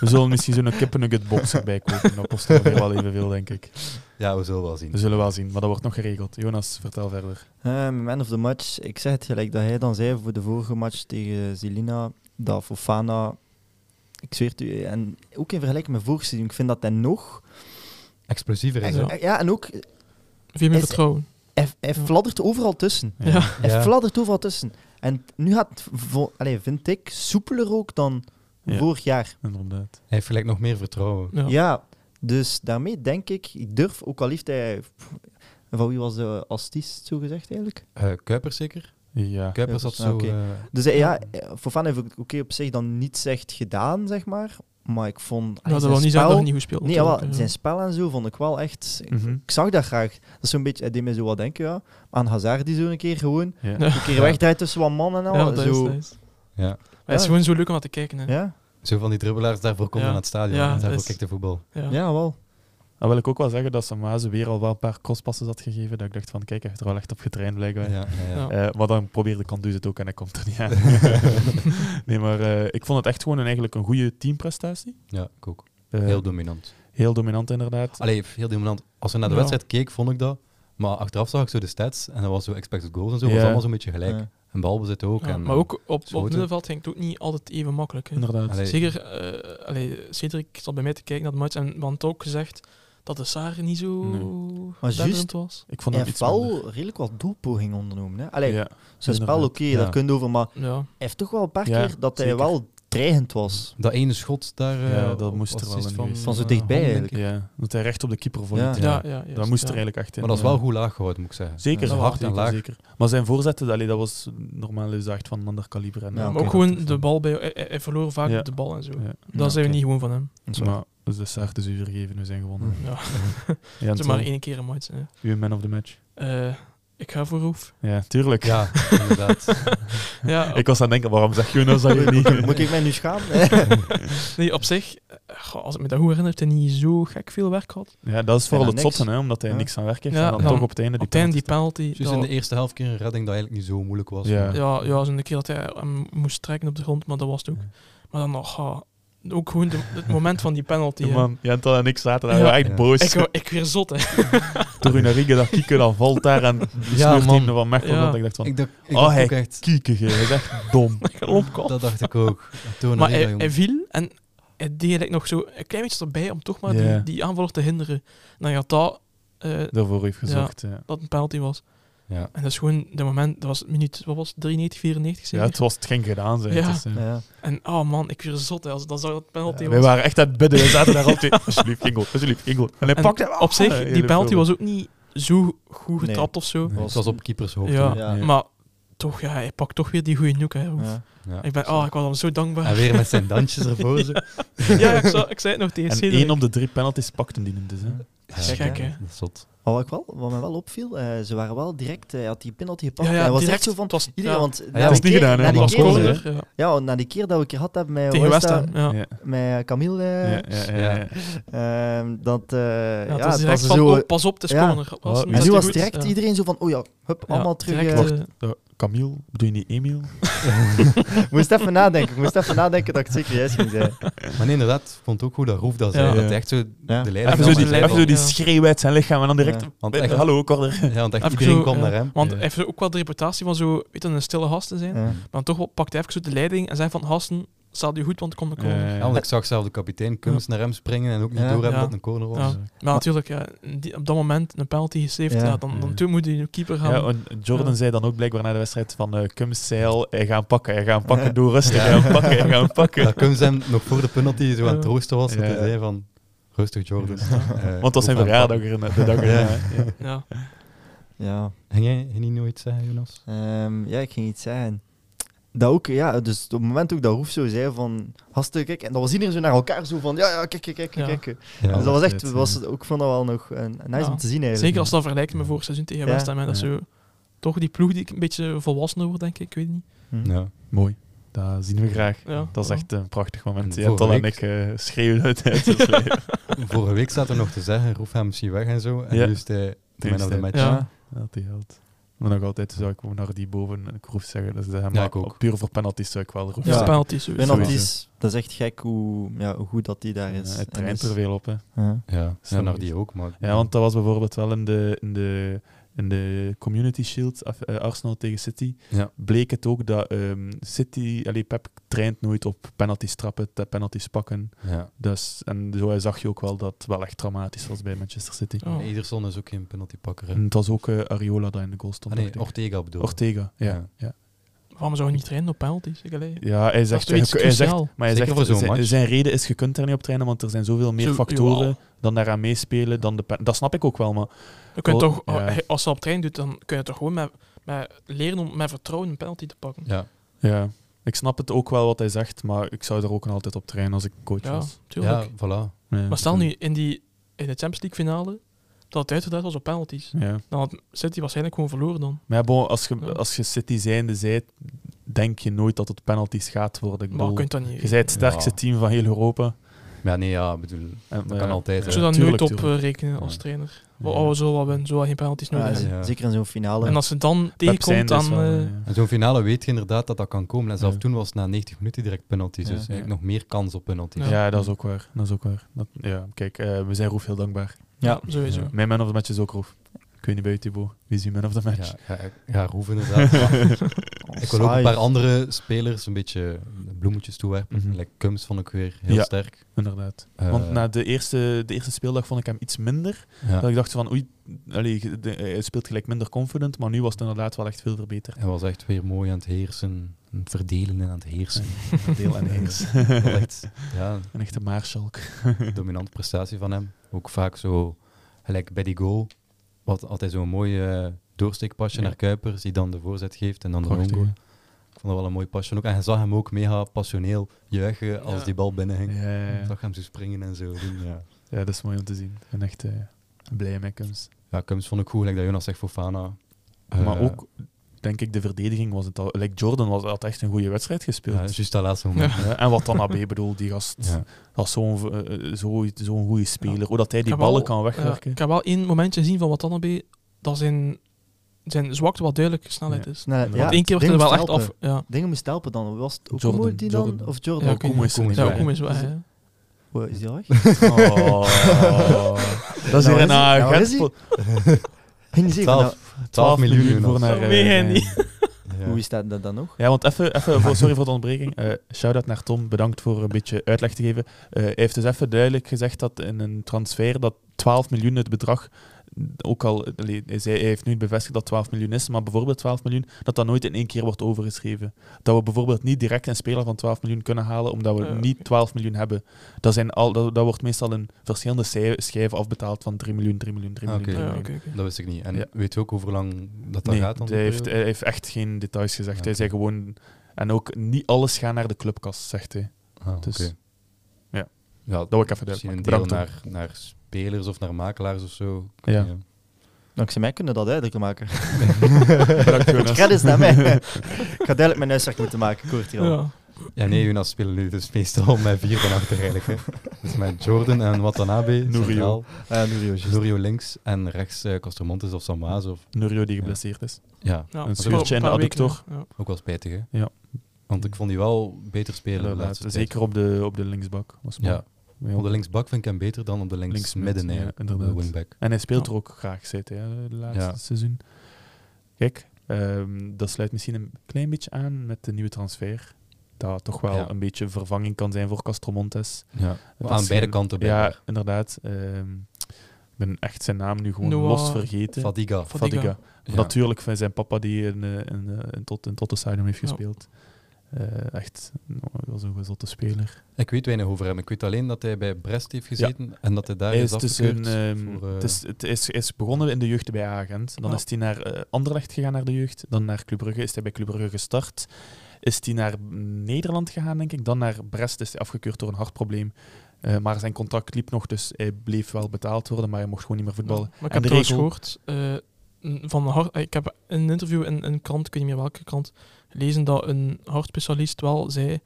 S3: We zullen misschien zo'n kippennuggetbox erbij kopen. Dat kost ongeveer wel evenveel, denk ik.
S1: Ja, we zullen wel zien.
S3: We zullen wel zien, maar dat wordt nog geregeld. Jonas, vertel verder.
S5: Eh, man of the match. Ik zeg het gelijk dat hij dan zei voor de vorige match tegen Zelina. Dat Fofana. Ik zweer het u. En ook in vergelijking met vorig seizoen. Ik vind dat hij nog.
S1: Explosiever is
S5: En, eh,
S1: het.
S5: ja. en ook.
S4: Vier meer
S5: Is-
S4: vertrouwen.
S5: Hij, hij fladdert overal tussen.
S4: Ja.
S5: Hij
S1: Ja.
S5: fladdert overal tussen. En nu gaat het, vo- allee, vind ik, soepeler ook dan
S3: Ja.
S5: vorig jaar.
S3: Inderdaad.
S1: Hij heeft gelijk nog meer vertrouwen.
S4: Ja.
S5: Ja. dus daarmee denk ik. Ik durf ook al liefst. Hij, pff, van wie was de astis, zo gezegd eigenlijk?
S1: Eh Kuipers zeker?
S3: Ja. nou,
S1: Kuipers had
S5: Kuipers,
S1: zo...
S5: oké.
S1: eh,
S5: Dus eh, ja, eh, Fofana heeft ook- oké op zich dan niets echt gedaan, zeg maar. Maar ik vond...
S4: We hadden
S5: zijn
S4: wel niet
S5: spel-
S4: zo niet eh. gespeeld.
S5: Nee, jawel,
S4: natuurlijk,
S5: zijn spel en zo vond ik wel echt... ik-
S3: Mhm.
S5: Ik zag dat graag. Dat is zo'n beetje... Het deed mij zo wat denken, ja. Aan Hazard die zo een keer gewoon...
S3: Ja.
S4: Ja.
S5: Een keer
S1: Ja.
S5: wegdraait tussen wat man en
S4: ja.
S5: al.
S4: Ja, dat is,
S5: zo,
S4: dat is.
S1: ja.
S4: Maar Het is
S5: Ja.
S4: gewoon zo leuk om aan te kijken. Hè.
S5: Ja?
S1: Zo van die dribbelaars, daarvoor komt
S4: Ja.
S1: aan het stadion.
S4: Ja,
S1: daarvoor
S4: dat is-
S1: kijkt de voetbal.
S5: Ja.
S4: Ja.
S5: wel.
S3: Dan Ah, wil ik ook wel zeggen dat Samaze weer al wel een paar crosspassen had gegeven. Dat ik dacht van, kijk, hij heeft er wel echt op getraind,
S1: Ja,
S3: blijkbaar.
S1: ja, ja.
S4: Ja.
S3: Eh, maar dan probeerde Kandus het ook en hij komt er
S4: <laughs>
S3: niet aan. nee, maar eh, ik vond het echt gewoon een, eigenlijk een goede teamprestatie.
S1: Ja, ik ook.
S3: Eh,
S1: Heel dominant.
S3: heel dominant, inderdaad.
S1: Allee, heel dominant. Als ik naar de
S4: Ja.
S1: wedstrijd keek, vond ik dat. Maar achteraf zag ik zo de stats en dat was zo expected goals en zo. was
S3: Ja.
S1: allemaal zo'n beetje gelijk.
S5: Ja.
S1: En balbezit ook.
S4: Ja,
S1: en,
S4: maar ook op, op
S1: schoten.
S4: middenveld ging het ook niet altijd even makkelijk. Hè.
S3: eh, Inderdaad.
S1: Allee.
S4: Zeker, eh allee, Cedric zat bij mij te kijken naar de match en want ook gezegd dat de Saar niet zo
S3: Nee.
S5: Maar
S4: denderend
S5: juist-
S4: was.
S3: Ik vond
S5: Hij
S3: hem
S5: heeft
S3: iets minder.
S5: wel redelijk wat doelpogingen ondernomen. Hè? Allee,
S3: Ja.
S5: zijn spel, oké,
S3: inderdaad.
S1: Ja.
S5: daar kun je over. Maar hij
S4: Ja.
S5: heeft toch wel een paar
S3: Ja,
S5: keer dat hij
S3: zeker.
S5: wel dreigend was.
S1: Dat ene schot daar... eh,
S3: Ja, dat moest
S1: was
S3: er wel
S1: iets
S3: in geweest
S5: Van zo
S1: eh,
S5: dichtbij
S1: Hong, denk
S5: eigenlijk.
S1: ik.
S3: Ja, dat hij recht op de keeper voor
S5: Ja.
S3: niet.
S4: Ja, ja, juist,
S3: Dat moest
S4: ja.
S3: er eigenlijk echt in.
S1: Maar dat is
S3: ja.
S1: wel goed laag gehouden, moet ik zeggen.
S3: Zeker,
S1: Ja,
S3: ja,
S1: hard en
S3: zeker,
S1: laag.
S3: zeker. Maar zijn voorzetten, allee, dat was normaal gezegd van een ander kaliber. En,
S5: Ja,
S3: eh,
S4: Maar
S5: oké.
S4: ook gewoon de bal bij... Hij, hij- hij verloor vaak
S3: Ja.
S4: de bal en zo.
S3: Ja.
S4: Dat zijn we
S5: oké.
S4: niet gewoon van hem.
S5: Dat is waar.
S3: Maar dus de Saar de zuur geven, we zijn gewonnen.
S5: Hm.
S4: Ja.
S3: <laughs> Ja,
S4: Het is
S3: Anton,
S4: maar één keer een match. Hè.
S3: uw man of the match.
S4: Eh, ik ga voor
S3: <laughs>
S4: Hoef.
S3: Ja, tuurlijk.
S1: Ja,
S3: <laughs>
S1: inderdaad.
S4: Ja,
S3: Ik was aan het denken, waarom zeg je nou dat
S4: <laughs>
S3: je
S5: <laughs>
S3: niet...
S5: Moet ik mij nu schamen?
S4: nee, op zich, eh, goh, als ik me dat goed herinner, heeft hij niet zo gek veel werk gehad.
S3: Ja, dat is vooral
S5: Ja,
S3: het
S5: niks.
S3: zotte, hè, omdat hij
S5: Ja.
S3: niks aan werk heeft.
S4: Ja,
S3: en dan
S4: dan
S3: toch op het einde die
S4: Op het einde die
S3: penalty.
S4: penalty...
S1: Dus in de eerste helft keer een redding dat eigenlijk niet zo moeilijk was.
S3: Ja.
S4: Ja, ja zo'n keer dat hij hem moest trekken op de grond, maar dat was het ook.
S3: Ja.
S4: Maar dan nog, ah, ook gewoon de- het moment van die penalty. hè.
S3: Man, Jentel en ik zaten daar
S4: Ja.
S3: echt
S1: Ja.
S3: boos.
S4: Ik, wou- ik weer zot, hè. <laughs>
S3: Toen in Rieke dat kieken, dan valt daar en die
S1: Ja,
S3: ja,
S1: man.
S3: van Mechelen.
S4: Ja.
S3: Dat ik dacht van,
S1: Ik dacht, ik
S3: Oh,
S1: dacht
S3: hij
S1: ook echt...
S3: kieken, je, dat is echt dom.
S4: Ik had opgehaald.
S1: Dat dacht ik
S3: <laughs>
S1: ook. Toen
S4: Maar
S1: maar
S4: hij, hij viel en hij deed eigenlijk nog zo een klein beetje erbij om toch maar
S3: Ja.
S4: die, die aanvaller te hinderen. En dan gaat dat, eh,
S3: Daarvoor heeft gezocht, ja.
S4: dat een penalty was.
S1: Ja.
S4: En dat is gewoon de moment, dat was het minuut, wat was het, 93, 94
S3: Ja,
S4: zeker?
S3: het was het ging gedaan zijn.
S4: Ja.
S3: Het is, eh,
S5: Ja.
S4: En oh man, ik weer zot, hè. Als, dan zou dat penalty
S3: wij
S4: was.
S3: waren echt aan het bidden. We zaten daar altijd. <laughs> Alsjeblieft, Ingel. Alsjeblieft, Ingel. En hij
S4: En
S3: pakte hem
S4: op zich,
S3: Ah,
S4: die
S3: <laughs> hele
S4: penalty
S3: film.
S4: was ook niet zo goed
S5: Nee.
S4: getrapt of zo.
S1: Het was op keepershoofd.
S4: Ja.
S1: hè.
S5: Ja.
S3: Ja.
S4: Maar toch, ja, hij pakt toch weer die goede noek, hè. Hoef.
S5: Ja.
S1: Ja.
S4: Ik ben, oh, ik was hem zo dankbaar.
S1: En weer met zijn dansjes ervoor. zo.
S4: <laughs> ja, ik, zou- ik zei het nog tegen
S3: En
S4: Cedric.
S3: één op de drie penalties pakte die hem dus. Hè.
S4: Dat is
S1: Ja,
S4: gek, hè.
S1: dat is Zot.
S5: Maar wat, ik wel, wat mij wel opviel, eh, ze waren wel direct, eh, hij had die penalty gepakt.
S4: Ja, ja,
S5: hij was
S4: direct,
S5: direct zo van,
S4: het was-
S5: iedereen,
S4: ja.
S5: want na
S1: was
S5: die
S1: niet
S5: keer-
S3: gedaan, hè,
S5: na die
S3: want
S5: keer-
S3: het was
S4: Corner, ja.
S5: Ja, na die keer dat we een keer had hebben met,
S4: Tegen
S5: West
S4: West
S5: Ham-
S4: Ham, ja.
S3: Ja.
S5: met Camille, eh,
S3: Ja, ja, ja, ja.
S5: ehm, dat, eh,
S4: Ja,
S5: ja,
S4: het was
S5: dat
S4: direct
S5: ze
S4: van,
S5: zo...
S4: oh, pas op, de
S5: ja.
S4: corner.
S3: Oh,
S4: Als-
S3: en
S5: en
S4: als die
S5: nu was
S4: goed-
S5: direct
S4: ja.
S5: iedereen zo van, oh ja, hup,
S4: Ja,
S5: allemaal terug.
S4: direct,
S5: eh,
S4: eh,
S3: Eh, Camille, bedoel je niet Emiel?
S5: Ik moest even nadenken, ik moest even nadenken dat ik het zeker juist ging zijn.
S4: <laughs>
S1: Maar nee, inderdaad, ik vond ook goed dat Roef dat zei.
S4: Ja.
S1: Dat hij echt zo
S5: Ja.
S1: de leider
S3: Even
S4: dan
S3: zo
S1: van
S4: was
S3: die,
S4: het
S1: zijn
S3: even
S4: level.
S3: zo die
S4: Ja.
S3: schreeuw uit zijn lichaam en dan direct...
S5: Ja.
S1: Want echt-
S3: Hallo, Corder.
S1: Ja, want echt
S4: Even
S1: iedereen
S4: zo,
S1: kwam
S4: ja.
S1: naar hem.
S4: Want
S3: Ja.
S4: hij heeft ook wel de reputatie van zo, weet je, een stille gast te zijn.
S5: Ja.
S4: Maar toch wel pakt hij even zo de leiding en zei van, gasten, staat u goed, want er komt
S3: Eh,
S4: een corner.
S1: Ja, want ik zag zelf de kapitein Kums naar hem springen en ook niet
S5: Ja.
S1: doorhebben
S4: Ja.
S1: dat het een corner was.
S4: Ja. Maar natuurlijk, ja, die- op dat moment een penalty gesaved,
S5: Ja.
S4: ja. dan, dan
S3: Ja.
S4: toen moet hij de keeper gaan.
S3: Ja, en Jordan
S4: Ja.
S3: zei dan ook blijkbaar na de wedstrijd van eh Kums zei al, hij gaat hem pakken, hij gaat hem pakken, doe rustig, hij gaat hem pakken, hij gaat hem pakken.
S1: Dat Kums hem nog voor de penalty zo aan het
S4: Ja.
S1: troosten was. Dat
S3: Ja.
S1: hij zei van, rustig Jordan. Eh,
S3: Want dat was zijn
S1: hoef aan te
S3: verjaardag er- de dag erna. Ja.
S4: Ja.
S5: Ja.
S1: pakken. Ging jij ging hij nooit zeggen, Jonas?
S5: Ehm, ja, ik ging iets zeggen. Dat ook, ja, dus op het moment ook dat Roef zo zei van, gasten, kijk, en dan was iedereen zo naar elkaar zo van, ja, ja, kijk, kijk, kijk,
S4: Ja.
S5: kijk. kijk.
S1: Ja.
S5: dus dat was echt,
S3: Altijd,
S5: was het ook van dat wel nog eh, nice
S4: Ja.
S5: om te zien eigenlijk.
S4: Zeker als je dat vergelijkt met vorig seizoen tegen
S5: Ja,
S4: West Ham. hè, Dat is
S2: ja.
S4: zo, toch die ploeg die een beetje volwassener wordt, denk ik. Ik weet het niet.
S5: Hm.
S1: Ja.
S3: Mooi. Dat zien we graag.
S4: Ja.
S3: Dat is echt een prachtig moment.
S1: En
S3: Je hebt al en
S1: vorige
S3: ik eh, schreeuwen uit uit het leven.
S1: Vorige week zaten we nog te zeggen, roef hem misschien weg en zo. En
S3: Ja.
S1: nu is hij de man of the
S3: hij-
S1: match.
S4: Ja.
S3: Dat die held. Maar nog altijd zou ik naar die boven een kroef zeggen. Dat is de, maar
S1: ik ook.
S3: Puur voor penalties zou ik wel roef
S4: Ja,
S5: Ja.
S4: ja.
S3: zeggen.
S4: penalty sowieso.
S5: Penalties, dat is echt gek hoe, ja, hoe goed dat die daar
S3: Ja,
S5: is.
S3: het
S5: En
S3: traint
S5: dus-
S3: er veel op. Hè.
S5: ja.
S1: Ja, ja
S3: Snap
S1: naar
S3: ik.
S1: die ook, maar...
S3: Ja, want dat was bijvoorbeeld wel in de, in de, in de Community Shield, af- eh, Arsenal tegen City,
S1: Ja.
S3: bleek het ook dat ehm, City, allee, Pep traint nooit op penalties trappen, te- penalties pakken.
S1: Ja.
S3: Dus, en zo zag je ook wel dat het wel echt dramatisch was bij Manchester City.
S4: Ja. Oh.
S1: Ederson is ook geen penaltypakker, hè?
S3: En het was ook eh, Ariola dat in de goal stond.
S1: Ah, nee,
S3: dacht ik.
S1: Ortega bedoel ik.
S3: Ortega, ja.
S1: Ja.
S3: ja. ja.
S4: Waarom zou je niet trainen op penalties? Ik allee.
S3: hij
S4: Dat is
S3: zegt...
S4: toch iets
S3: hij- hij zegt
S4: cruciaal.
S3: maar hij
S1: Zeker
S3: zegt,
S1: voor zo'n
S3: zijn,
S1: match.
S3: zijn reden is, je kunt er niet op trainen, want er zijn zoveel meer
S4: Zo-
S3: factoren
S4: jawel.
S3: dan daaraan meespelen dan de pen- Dat snap ik ook wel, maar
S4: Je kunt
S3: Oh,
S4: toch,
S3: ja.
S4: eh, Als je dat op trein doet, dan kun je toch gewoon met, met leren om met vertrouwen een penalty te pakken.
S1: Ja.
S3: Ja, ik snap het ook wel wat hij zegt, maar ik zou er ook nog altijd op trainen als ik coach
S4: Ja,
S3: was.
S4: tuurlijk.
S1: ja, voilà.
S3: Ja.
S4: Maar stel nu in, die, in de Champions League finale dat het uitgedraaid was op penalties.
S3: Ja.
S4: Dan had City waarschijnlijk gewoon verloren dan.
S3: Maar ja, bon, als,
S4: Ja.
S3: je, als je City zijnde zijt, denk je nooit dat het penalties gaat worden. Ik
S4: Maar je
S3: bedoel,
S4: kunt dat
S3: je
S4: niet.
S3: bent het sterkste
S1: Ja.
S3: team van heel Europa.
S1: Maar ja, nee, ja, ik bedoel...
S3: En,
S1: Dat
S3: eh,
S1: kan altijd,
S4: Ik
S1: hè.
S4: zou daar
S3: tuurlijk,
S4: nooit op
S3: tuurlijk.
S4: eh, rekenen als
S1: Ja.
S4: trainer.
S3: Ja.
S4: Oh, we zullen wel winnen, zullen wel geen penalties nodig
S5: Ja,
S4: hebben.
S1: ja.
S5: Zeker in zo'n finale.
S4: En als ze dan
S3: Pep zijn
S4: tegenkomt, dan...
S3: dus wel,
S4: eh,
S3: ja.
S1: En zo'n finale weet je inderdaad dat dat kan komen. En zelf
S3: Ja.
S1: toen was het na 90 minuten direct penalties.
S5: Ja.
S1: Dus eigenlijk
S3: Ja.
S1: nog meer kans op penalties.
S4: Ja.
S3: ja. dat is ook waar. Dat is ook waar. Dat, ja, kijk, eh, we zijn Roef heel dankbaar.
S4: ja, sowieso.
S1: Ja.
S3: Mijn man of the match is ook Roef. Ik weet niet bij u, Thibaut. Wie is uw man of the match?
S1: Ja, ja, ja, Roef
S3: <laughs>
S1: inderdaad. Maar ik wil ook een
S5: Saai.
S1: paar andere spelers een beetje bloemetjes toewerpen.
S3: Mhm.
S1: Like Cums vond ik weer heel
S3: Ja.
S1: sterk.
S3: Inderdaad.
S1: Eh,
S3: Want na de eerste, de eerste speeldag vond ik hem iets minder.
S1: ja.
S3: Dat ik dacht van, oei, allee, ge- de- hij speelt gelijk minder confident, maar nu was het inderdaad wel echt veel verbeterd.
S1: Hij was echt weer mooi aan het heersen. Aan het verdelen en aan het heersen.
S3: Deel
S1: <laughs>
S3: en heers.
S1: Dat was echt ja,
S3: Een echte maarschalk.
S1: een dominante prestatie van hem. Ook vaak zo, gelijk bij die goal, wat altijd zo'n mooi eh, doorsteekpasje
S3: Ja.
S1: naar Kuipers, die dan de voorzet geeft en dan de
S3: Prachtig,
S1: own goal. Ik vond dat wel een mooi pasje ook. En je zag hem ook mega passioneel juichen als
S4: Ja.
S1: die bal binnen
S3: hè.
S1: ging.
S3: Ja, ja,
S1: Ik
S3: ja.
S1: zag hem zo springen en zo doen. Ja,
S3: Ja, dat is mooi om te zien. Ik ben echt eh, blij met Kums.
S1: ja Kums vond ik goed, gelijk dat Jonas zegt voor Fana. Eh,
S3: maar ook, denk ik, de verdediging was het al. Like Jordan was, had echt een goede wedstrijd gespeeld.
S1: Ja, juist dat laatste moment.
S3: Ja, en wat dan AB bedoel, die gast
S1: Ja.
S3: was zo'n v- eh, zo, zo'n goede speler.
S4: Ja.
S3: Hoe dat hij die
S4: Ik heb wel-
S3: ballen kan
S4: Ja,
S3: wegwerken.
S4: ik heb wel één momentje zien van Watanabe dat zijn, zijn zwakte wat duidelijk snelheid is.
S5: Snelheid,
S3: Want
S5: ja,
S4: Want één keer wordt er
S5: dingen
S4: wel echt
S5: moest
S4: af.
S5: helpen.
S4: Ja,
S5: Dingen moest helpen dan. Was het Okumo
S3: Jordan,
S5: die dan?
S3: Jordan.
S5: Of
S4: Ja,
S5: Jordan?
S4: oké.
S3: Okumo is
S1: Okumo is
S4: ja
S1: weg.
S4: Okumo is weg. hè.
S5: Oh,
S3: <laughs>
S5: is die weg?
S3: Oh. Dat is hier een
S5: Nou, is hij- nou,
S3: agent
S5: is hij?
S3: voor-
S5: Ging niet zeker. nou,
S1: 12 miljoen,
S3: voor
S1: Jonas.
S3: naar...
S4: Zo
S3: eh,
S4: meen je niet.
S1: Ja.
S5: Hoe is dat dat dan nog?
S3: Ja, want even, even voor, sorry voor de ontbreking. Eh Shout-out naar Tom, bedankt voor een beetje uitleg te geven. Eh, hij heeft dus even duidelijk gezegd dat in een transfer dat 12 miljoen het bedrag, ook al, eh, allee, hij, zei, hij heeft nu bevestigd dat 12 miljoen is, maar bijvoorbeeld 12 miljoen, dat dat nooit in één keer wordt overgeschreven. Dat we bijvoorbeeld niet direct een speler van 12 miljoen kunnen halen, omdat we
S4: Ja,
S3: niet
S4: Oh, oké.
S3: 12 miljoen hebben. Dat, zijn al, dat, dat wordt meestal in verschillende schij- schijven afbetaald van 3 miljoen, 3 miljoen, 3 miljoen.
S1: Oké.
S4: Ja,
S3: 3
S4: Oh, oké,
S3: miljoen.
S4: oké.
S1: Dat wist ik niet. En
S3: Ja.
S1: weet je ook hoe lang dat, dat
S3: Nee,
S1: gaat dan?
S3: hij, heeft, hij heeft echt geen details gezegd.
S1: Ja,
S3: Hij zei
S1: oké.
S3: gewoon... En ook niet alles gaat naar de clubkast, zegt hij.
S1: Ah,
S3: dus-
S1: oké.
S3: ja.
S1: ja.
S3: Dat wil ik even
S1: Misschien een
S3: duidelijk
S1: deel
S3: maken. Bedankt, Tom.
S1: naar, naar spelers of naar makelaars of zo. Ik
S3: Ja.
S1: weet niet,
S5: Dankzij mij kunnen we dat duidelijker maken. <laughs>
S3: Bedankt,
S5: Het
S3: Jonas.
S5: credits naar mij. Ik ga duidelijk mijn huiswerk moeten maken, kort hier al.
S4: Ja.
S1: Ja, nee, Jonas spelen nu dus meestal <laughs> met vier van achter eigenlijk. Hè. Dus met Jordan en Watanabe,
S3: Norio.
S1: centraal.
S5: Eh, Nurio, juist.
S1: Norio links en rechts eh Castromontes of Samaas. Of,
S3: Nurio die geblesseerd is.
S1: ja,
S4: Ja,
S3: Een
S4: voor
S3: schuurtje in
S4: paar
S3: de
S4: weken,
S3: adductor.
S4: ja.
S1: ook wel spijtig hè.
S3: Ja.
S1: Want ik vond die wel beter spelen de
S3: Inderdaad.
S1: laatste tijd.
S3: Zeker op de, op de linksbak. Was mooi.
S1: Ja, op de linksbak vind ik hem beter dan op de links,
S3: Linksmid,
S1: midden
S3: ja,
S1: eigenlijk, op
S3: inderdaad.
S1: de wingback.
S3: En hij speelt
S4: Ja.
S3: er ook graag, zei hij, hè, de laatste
S1: Ja.
S3: seizoen. Kijk, ehm, dat sluit misschien een klein beetje aan met de nieuwe transfer. Dat toch wel
S1: Ja.
S3: een beetje vervanging kan zijn voor Castromontes.
S1: Ja.
S3: Dat
S1: Aan
S3: is
S1: beide
S3: geen-
S1: kanten bij.
S3: Ja, inderdaad. ehm, ik ben echt zijn naam nu gewoon
S4: Noah-
S3: los vergeten.
S1: Fadiga.
S4: Fadiga.
S3: Fadiga.
S1: Ja.
S3: Natuurlijk van zijn papa die in, eh, in, eh, in tot, in Tottenham heeft
S4: Ja.
S3: gespeeld. Eh, echt, nou, hij was een gezotte speler.
S1: Ik weet weinig over hem. Ik weet alleen dat hij bij Brest heeft gezeten en dat hij daar
S3: hij
S1: is
S3: is tussen,
S1: afgekeurd.
S3: ehm,
S1: voor, eh,
S3: het is, het is, hij is begonnen in de jeugd bij Agent. Dan
S4: Ja.
S3: is hij naar eh, Anderlecht gegaan, naar de jeugd. Dan naar Club Brugge, is hij bij Club Brugge gestart. is hij naar Nederland gegaan, denk ik. Dan naar Brest is hij afgekeurd door een hartprobleem. Eh, maar zijn contract liep nog, dus hij bleef wel betaald worden, maar hij mocht gewoon niet meer voetballen.
S4: Maar ik heb
S3: En de
S4: trouwens
S3: regel-
S4: gehoord eh, van een hart, ik heb in een interview in een krant, ik weet niet meer welke krant, gelezen dat een hartspecialist wel zei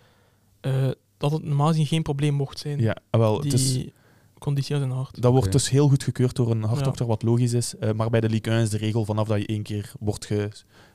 S4: eh, dat het normaal gezien geen probleem mocht zijn.
S3: Ja, ah, wel, het
S4: die
S3: is,
S4: conditie uit een hart.
S3: dat wordt
S1: Oké.
S3: dus heel goed gekeurd door een hartdokter, wat logisch is. Eh, maar bij de Ligue 1 is de regel vanaf dat je één keer wordt ge,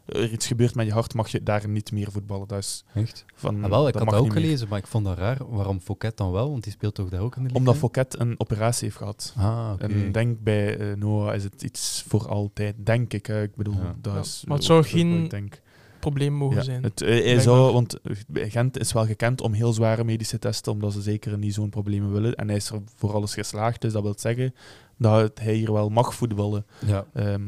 S3: er iets gebeurt met je hart, mag je daar niet meer voetballen. Dat is
S1: Echt?
S3: van,
S1: Ah, wel, ik
S3: eh, mm, dat
S1: had
S3: mag
S1: dat ook
S3: niet meer.
S1: gelezen, maar ik vond dat raar. Waarom Fouquet dan wel? Want die speelt toch daar ook in de
S3: Omdat
S1: Ligue
S3: Fouquet een operatie heeft gehad.
S1: één? Ah, oké.
S3: En denk bij eh, Noah is het iets voor altijd, denk ik. hè. Ik bedoel,
S1: Ja.
S3: dat
S4: Ja,
S3: is
S4: maar het
S3: eh,
S4: zou
S3: wat ik
S4: geen
S3: denk.
S4: probleem mogen
S3: Ja,
S4: zijn. <laughs>
S3: Het, eh, hij
S4: Blijkbaar.
S3: zou, want eh, Gent is wel gekend om heel zware medische testen, omdat ze zeker niet zo'n problemen willen. En hij is er voor alles geslaagd, dus dat wil zeggen dat het- hij hier wel mag voetballen.
S1: Ja,
S3: Ehm,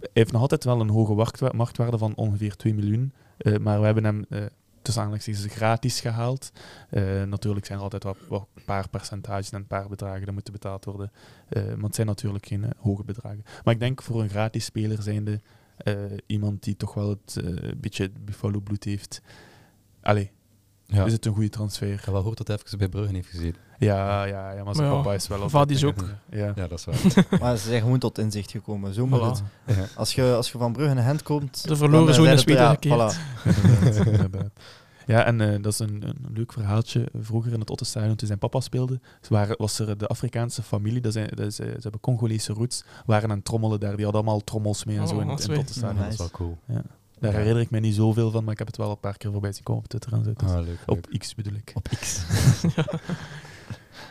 S3: hij heeft nog altijd wel een hoge marktwa- marktwaarde van ongeveer 2 miljoen. eh, maar we hebben hem eh tussen aanhalingstekens gratis gehaald. Eh, natuurlijk zijn er altijd wel, wel een paar percentages en een paar bedragen die moeten betaald worden. Eh, maar het zijn natuurlijk geen eh, hoge bedragen. Maar ik denk voor een gratis speler zijnde eh, iemand die toch wel het eh, beetje het Buffalo bloed heeft. Allee,
S1: ja.
S3: is het een goede transfer?
S1: Ik heb wel gehoord dat hij even bij Bruggen heeft gezeten.
S3: Ja, ja, ja maar zijn
S4: Maar ja,
S3: papa is wel...
S4: Vaad is
S3: altijd-
S4: ook.
S3: Ja.
S1: Ja, dat is
S3: <laughs>
S1: waar.
S5: Maar ze zijn gewoon tot inzicht gekomen. Zo moet
S4: Voilà.
S5: het. Als je, als je van Brugge naar Gent komt...
S4: De verloren
S5: dan, eh,
S4: zoon
S5: zijn
S4: is
S5: het- ja,
S4: wedergekeerd.
S5: voilà.
S1: <laughs>
S3: Inderdaad, inderdaad. Ja, en eh, dat is een, een leuk verhaaltje. Vroeger in het Ottenstadion, toen zijn papa speelde, ze waren, was er de Afrikaanse familie, dat zijn, dat is, eh, ze hebben Congolese roots, waren aan het trommelen daar. Die hadden allemaal trommels mee en
S4: Oh,
S3: zo in, in
S4: wat
S3: het
S4: weet.
S3: Ottenstadion.
S1: Dat is wel cool.
S3: Daar
S1: Ja.
S3: herinner ik me niet zoveel van, maar ik heb het wel een paar keer voorbij zien komen op Twitter en zo. Dus-
S1: Ah, leuk.
S3: op
S1: leuk.
S3: X bedoel ik.
S1: Op X.